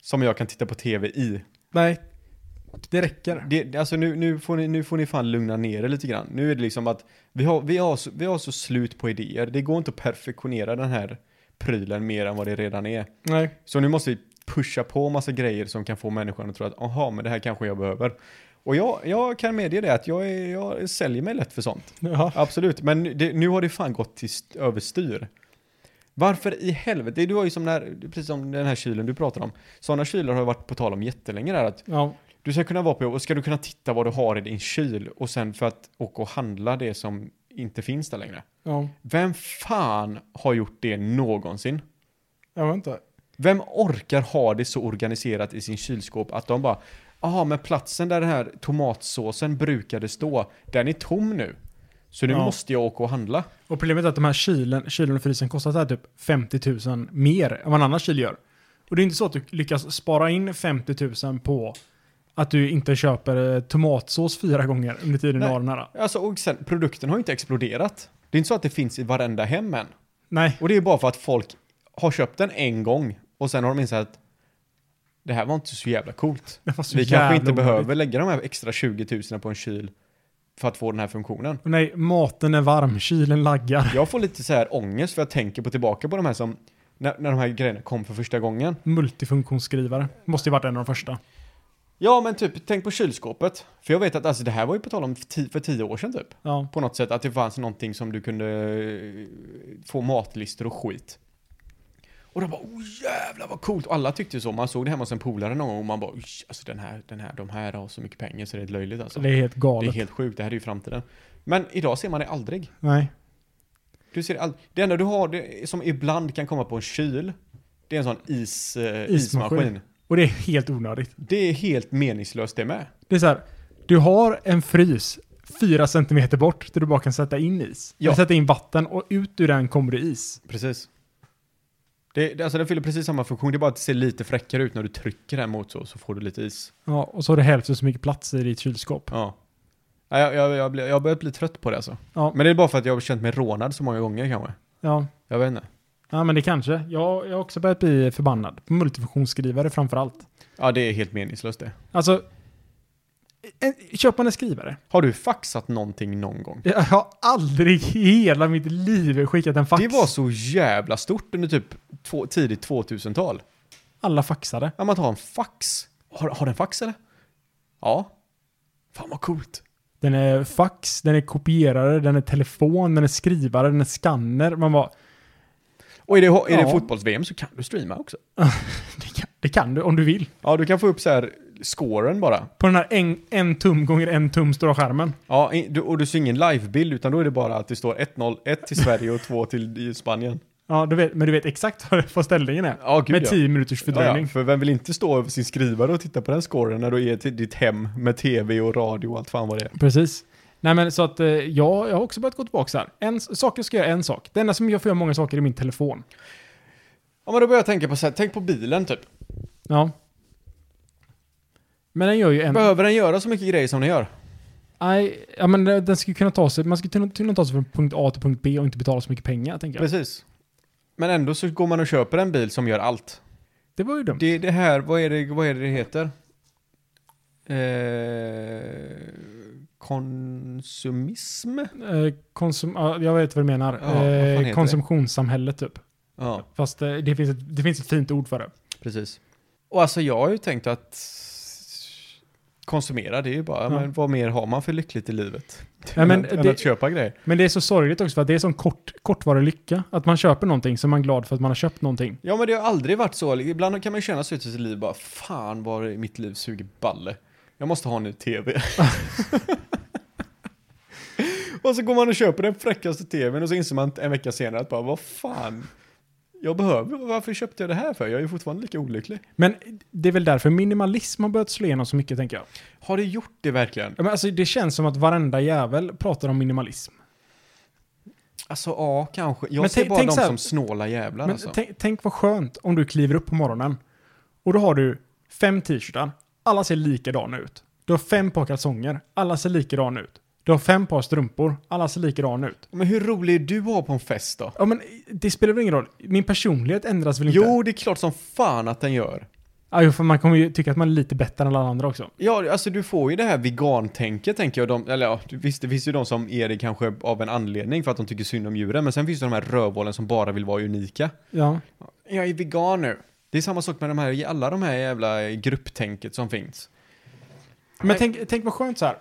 som jag kan titta på tv i. Nej, det räcker. Det, det- alltså nu, nu, får ni, nu får ni fan lugna ner er lite grann. Nu är det liksom att vi har, vi, har så, vi har så slut på idéer. Det går inte att perfektionera den här prylen mer än vad det redan är. Nej. Så nu måste vi pusha på massa grejer som kan få människan att tro att aha, men det här kanske jag behöver. Och jag, jag kan medge det att jag, är, jag säljer mig lätt för sånt. Ja. Absolut, men det, nu har det fan gått till st- överstyr. Varför i helvete? Du har ju som när, precis som den här kylen du pratar om. Sådana kylar har ju varit på tal om jättelänge där att Ja. du ska kunna vara på jobb och ska du kunna titta vad du har i din kyl och sen för att åka och handla det som inte finns där längre. ja. Vem fan har gjort det någonsin? Jag vet inte. Vem orkar ha det så organiserat i sin kylskåp att de bara Jaha, men platsen där den här tomatsåsen brukade stå, den är tom nu. Så nu Ja. måste jag åka och handla. Och problemet är att de här kylen, kylen och frysen kostar så här typ 50 000 mer än vad en annan kyl gör. Och det är inte så att du lyckas spara in 50 000 på att du inte köper eh, tomatsås fyra gånger under tiden du Nej. har den här. Alltså, och sen, produkten har ju inte exploderat. Det är inte så att det finns i varenda hem än. Nej. Och det är bara för att folk har köpt den en gång och sen har de insett att det här var inte så jävla coolt. Det var så Vi kanske jävla inte onödigt. behöver lägga de här extra 20 000 på en kyl för att få den här funktionen. Och Nej, maten är varm, kylen laggar. Jag får lite så här ångest för jag tänker på tillbaka på de här som, när, när de här grejerna kom för första gången. Multifunktionsskrivare. Måste ju varit en av de första. Ja men typ, tänk på kylskåpet. För jag vet att alltså, det här var ju på tal om för ti- för tio år sedan typ. Ja. På något sätt att det fanns någonting som du kunde eh, få matlistor och skit. Och de bara oh jävlar vad coolt. Och alla tyckte ju så. Man såg det hemma hos en polare någon gång och man bara "Oj, alltså den här, den här, de här har så mycket pengar så det är löjligt alltså. Så det är helt Det är galet. helt sjukt, det här är ju framtiden. Men idag ser man det aldrig. Nej. Du ser det, aldrig. det enda du har det, som ibland kan komma på en kyl, det är en sån is, eh, Ismaskin. ismaskin. Och det är helt onödigt. Det är helt meningslöst det med. Det är så här, du har en frys fyra centimeter bort där du bara kan sätta in is. Ja. Eller sätta in vatten och ut ur den kommer det is. Precis. Det, det, alltså den fyller precis samma funktion, det är bara att det ser lite fräckare ut när du trycker den mot så, så får du lite is. Ja, och så har du hälften så mycket plats i ditt kylskåp. Ja. Nej, Jag, jag, jag, blir- jag har börjat bli trött på det alltså. Ja. Men det är bara för att jag har känt mig rånad så många gånger kanske. Ja, Jag vet inte. ja men det kanske. Jag, jag har också börjat bli förbannad. På multifunktionsskrivare framför allt. Ja, det är helt meningslöst det. Alltså, en, köper man en skrivare? Har du faxat någonting någon gång? Jag har aldrig i hela mitt liv skickat en fax. Det var så jävla stort under typ två, tidigt 2000-tal. Alla faxade. Ja, man tar en fax. Har, har den fax eller? Ja. Fan vad coolt. Den är fax, den är kopierare, den är telefon, den är skrivare, den är skanner. Man bara, Och är det, är det Ja. fotbolls-VM så kan du streama också. Det kan, det kan du om du vill. Ja, du kan få upp så här scoren bara. På den här en, en tum gånger en tum stora skärmen. Ja, i- du, och du ser ingen livebild utan då är det bara att det står 1-0, 1 till Sverige och 2 till i Spanien. Ja, du vet, men du vet exakt vad- vad ställningen är. Ja, gud med ja. 10 minuters Ja, ja, fördröjning. för vem vill inte stå över sin skrivare och titta på den scoren när du är till ditt hem med tv och radio och allt fan vad det är. Precis. Nej men så att eh, jag, jag har också börjat gå tillbaka så här. En s- sak jag ska göra en sak. Det enda som jag får göra många saker är min telefon. Ja, men då börjar jag tänka på så här, tänk på bilen typ. Ja. Men den gör ju en... Behöver den göra så mycket grejer som den gör? Nej, ja men eh, den skulle kunna ta sig... Man skulle kunna, kunna ta sig från punkt A till punkt B och inte betala så mycket pengar, tänker jag. Precis. Men ändå så går man och köper en bil som gör allt. Det var ju dumt. Det är det här, vad är det, vad är det, det heter? Eh, konsumism? Eh, konsum, ja, jag vet vad du menar. Ja, vad fan heter eh, det? konsumtionssamhället typ. Ja, Fast eh, det, finns ett, det finns ett fint ord för det. precis. Och alltså jag har ju tänkt att konsumera, det är ju bara, Ja. men vad mer har man för lyckligt i livet? Ja, men än, att, än det- att köpa grejer. Men det är så sorgligt också för att det är sån kort, kortvarig lycka. Att man köper någonting så är man glad för att man har köpt någonting. Ja men det har aldrig varit så, ibland kan man ju känna sig ut i sitt liv bara fan vad det- mitt liv suger balle. Jag måste ha en ny tv. och så går man och köper den fräckaste tvn och så inser man en vecka senare att bara vad fan. Jag behöver, varför köpte jag det här för? Jag är ju fortfarande lika olycklig. Men det är väl därför minimalism har börjat slå igenom så mycket tänker jag. Har det gjort det verkligen? Ja, men alltså, det känns som att varenda jävel pratar om minimalism. Alltså ja, kanske. Jag Men ser tänk- bara tänk de så här- som snåla jävlar Men alltså. tänk, tänk vad skönt om du kliver upp på morgonen och då har du fem t-shirtar. Alla ser likadana ut. Du har fem par kalsonger. Alla ser likadana ut. Du har fem par strumpor. Alla ser likadana ut. Men hur rolig är du att ha på en fest då? Ja, men det spelar väl ingen roll. Min personlighet ändras väl inte? Jo, det är klart som fan att den gör. Ja, jo, för man kommer ju tycka att man är lite bättre än alla andra också. Ja, alltså du får ju det här vegantänket tänker jag. De, eller ja, du- visst det finns ju de som är det kanske av en anledning för att de tycker synd om djuren. Men sen finns det de här rövhålen som bara vill vara unika. Ja. Jag är vegan nu. Det är samma sak med de här, i alla de här jävla grupptänket som finns. Men tänk, tänk vad skönt så här.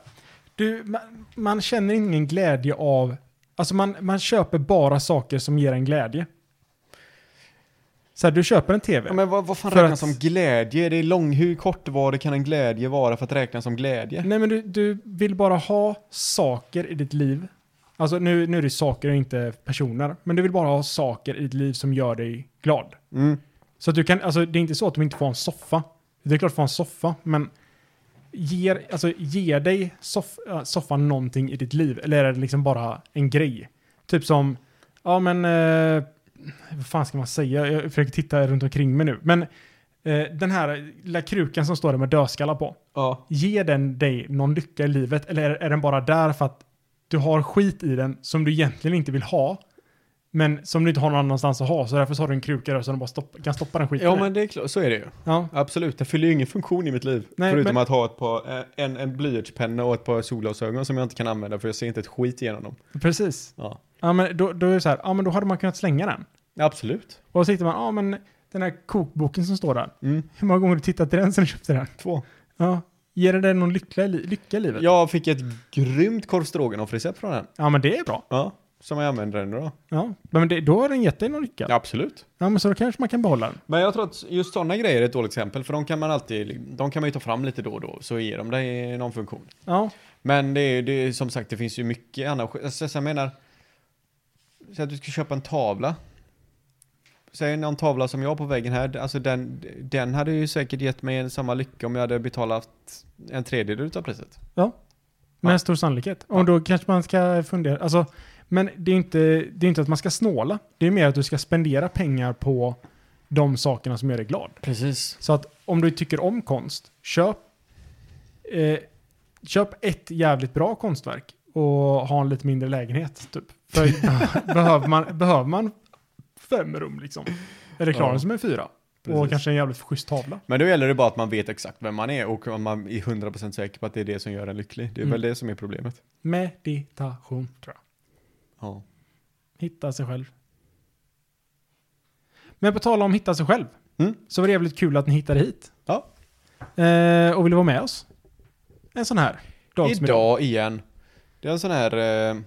Du, man, man känner ingen glädje av... Alltså man, man köper bara saker som ger en glädje. Så här, du köper en tv. Ja, men vad, vad fan För räknas att- som glädje? Det är lång, hur kortvarig kan en glädje vara för att räknas som glädje? Nej men du, du vill bara ha saker i ditt liv. Alltså nu, nu är det saker och inte personer. Men du vill bara ha saker i ditt liv som gör dig glad. Mm. Så att du kan, alltså det är inte så att de inte får en soffa. Det är klart att få en soffa, men ger, alltså, ger dig soff, äh, soffan någonting i ditt liv? Eller är det liksom bara en grej? Typ som, ja men, eh, vad fan ska man säga? Jag försöker titta runt omkring mig nu. Men eh, den här lilla krukan som står där med dödskallar på. Ja. Ger den dig någon lycka i livet eller är, är den bara där för att du har skit i den som du egentligen inte vill ha? Men som du inte har någon annanstans att ha, så därför så har du en kruka där så du bara stopp, kan stoppa den skiten Ja i. men det är klart, så är det ju. ja. Absolut, den fyller ju ingen funktion i mitt liv. Nej, förutom men- att ha ett par, eh, en, en blyertspenna och ett par solglasögon som jag inte kan använda för jag ser inte ett skit igenom dem. Precis. Ja. Ja men då, då är det så här, ja men då hade man kunnat slänga den. Absolut. Och så tittar man, ja men den här kokboken som står där. Mm. Hur många gånger har du tittat till den sen du köpte den? Två. Ja. Ger den dig någon lycka, i li- lycka i livet? Jag fick ett grymt korv stroganoff-recept från den. Ja, men det är bra. Ja. Som jag använder den idag. Ja. Men det, då har den gett dig någon lycka. Ja. absolut. men så då kanske man kan behålla den. Men jag tror att just sådana grejer är ett dåligt exempel för de kan man alltid, de kan man ju ta fram lite då och då så ger de dig någon funktion. Ja. Men det är, det är som sagt, det finns ju mycket annat. skit. Alltså, jag menar, säg att du ska köpa en tavla. Säg någon tavla som jag har på väggen här, alltså den, den hade ju säkert gett mig samma lycka om jag hade betalat en tredjedel utav priset. Med Ja. stor sannolikhet. Och då kanske man ska fundera. Alltså, men det är, inte, det är inte att man ska snåla. Det är mer att du ska spendera pengar på de sakerna som gör dig glad. Precis. Så att om du tycker om konst, köp, eh, köp ett jävligt bra konstverk och ha en lite mindre lägenhet. Typ. För behöver, man, behöver man fem rum liksom? Eller klarar Ja. den som en fyra? Precis. Och kanske en jävligt schysst tavla. Men då gäller det bara att man vet exakt vem man är och om man är 100% säker på att det är det som gör en lycklig. Det är Mm. väl det som är problemet. Meditation, tror jag. Ja. Hitta sig själv. Men på tal om hitta sig själv, Mm. så var det jävligt kul att ni hittade hit. Ja. Eh, och ville vara med oss. En sån här dag som Idag igen. Det är en sån här eh,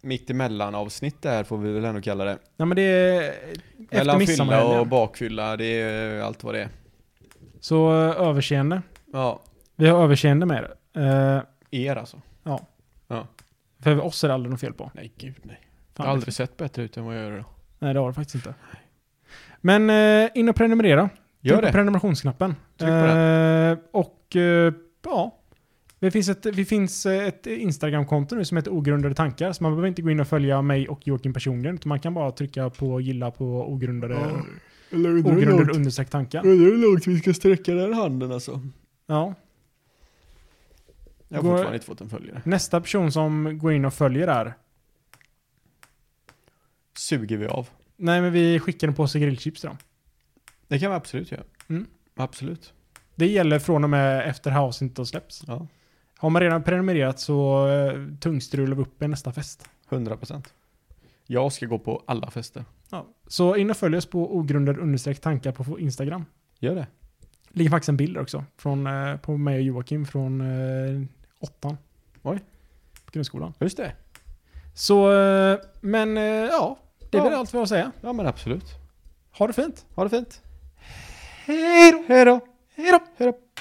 mittemellan avsnitt där får vi väl ändå kalla det. Ja, men det är efter Mellan fylla och midsommarhelgen. bakfylla, det är eh, allt vad det är. Så eh, överseende. Ja, Vi har överseende med det. Eh, er alltså. för oss är det aldrig något fel på. Nej, gud nej. Fan, jag har det aldrig sett bättre ut än vad jag gör idag. Nej, det har det faktiskt inte. Men eh, in och prenumerera. Gör Tryck på det. prenumerationsknappen. Tryck på Eh, och eh, ja, det finns ett, vi finns eh, ett Instagram-konto nu som heter Ogrundade tankar. Så man behöver inte gå in och följa mig och Joakim personligen. Utan man kan bara trycka på gilla på ogrundade, Eller undrar hur ogrundade långt- understreck tankar. undrar hur långt vi ska sträcka den handen alltså. Ja. Jag har Går- fortfarande inte fått en följare. Nästa person som går in och följer där. Suger vi av? Nej, men vi skickar en påse grillchips till dem. Det kan vi absolut göra. Mm. Absolut. Det gäller från och med efter avsnittet har släppts. Ja. Har man redan prenumererat så eh, tungstrular vi upp en nästa fest. 100 procent. Jag ska gå på alla fester. Ja. Så in och följ oss på ogrundade understreck tankar på Instagram. Gör det. ligger faktiskt en bild där också. Från, eh, på mig och Joakim från eh, åttan. Oj. På grundskolan. Just det. Så, eh, men eh, ja. Det är Ja. väl allt vi har att säga. Ja men absolut. Ha det fint. Ha det fint. Hej då. Hej då. Hej då. Hej då.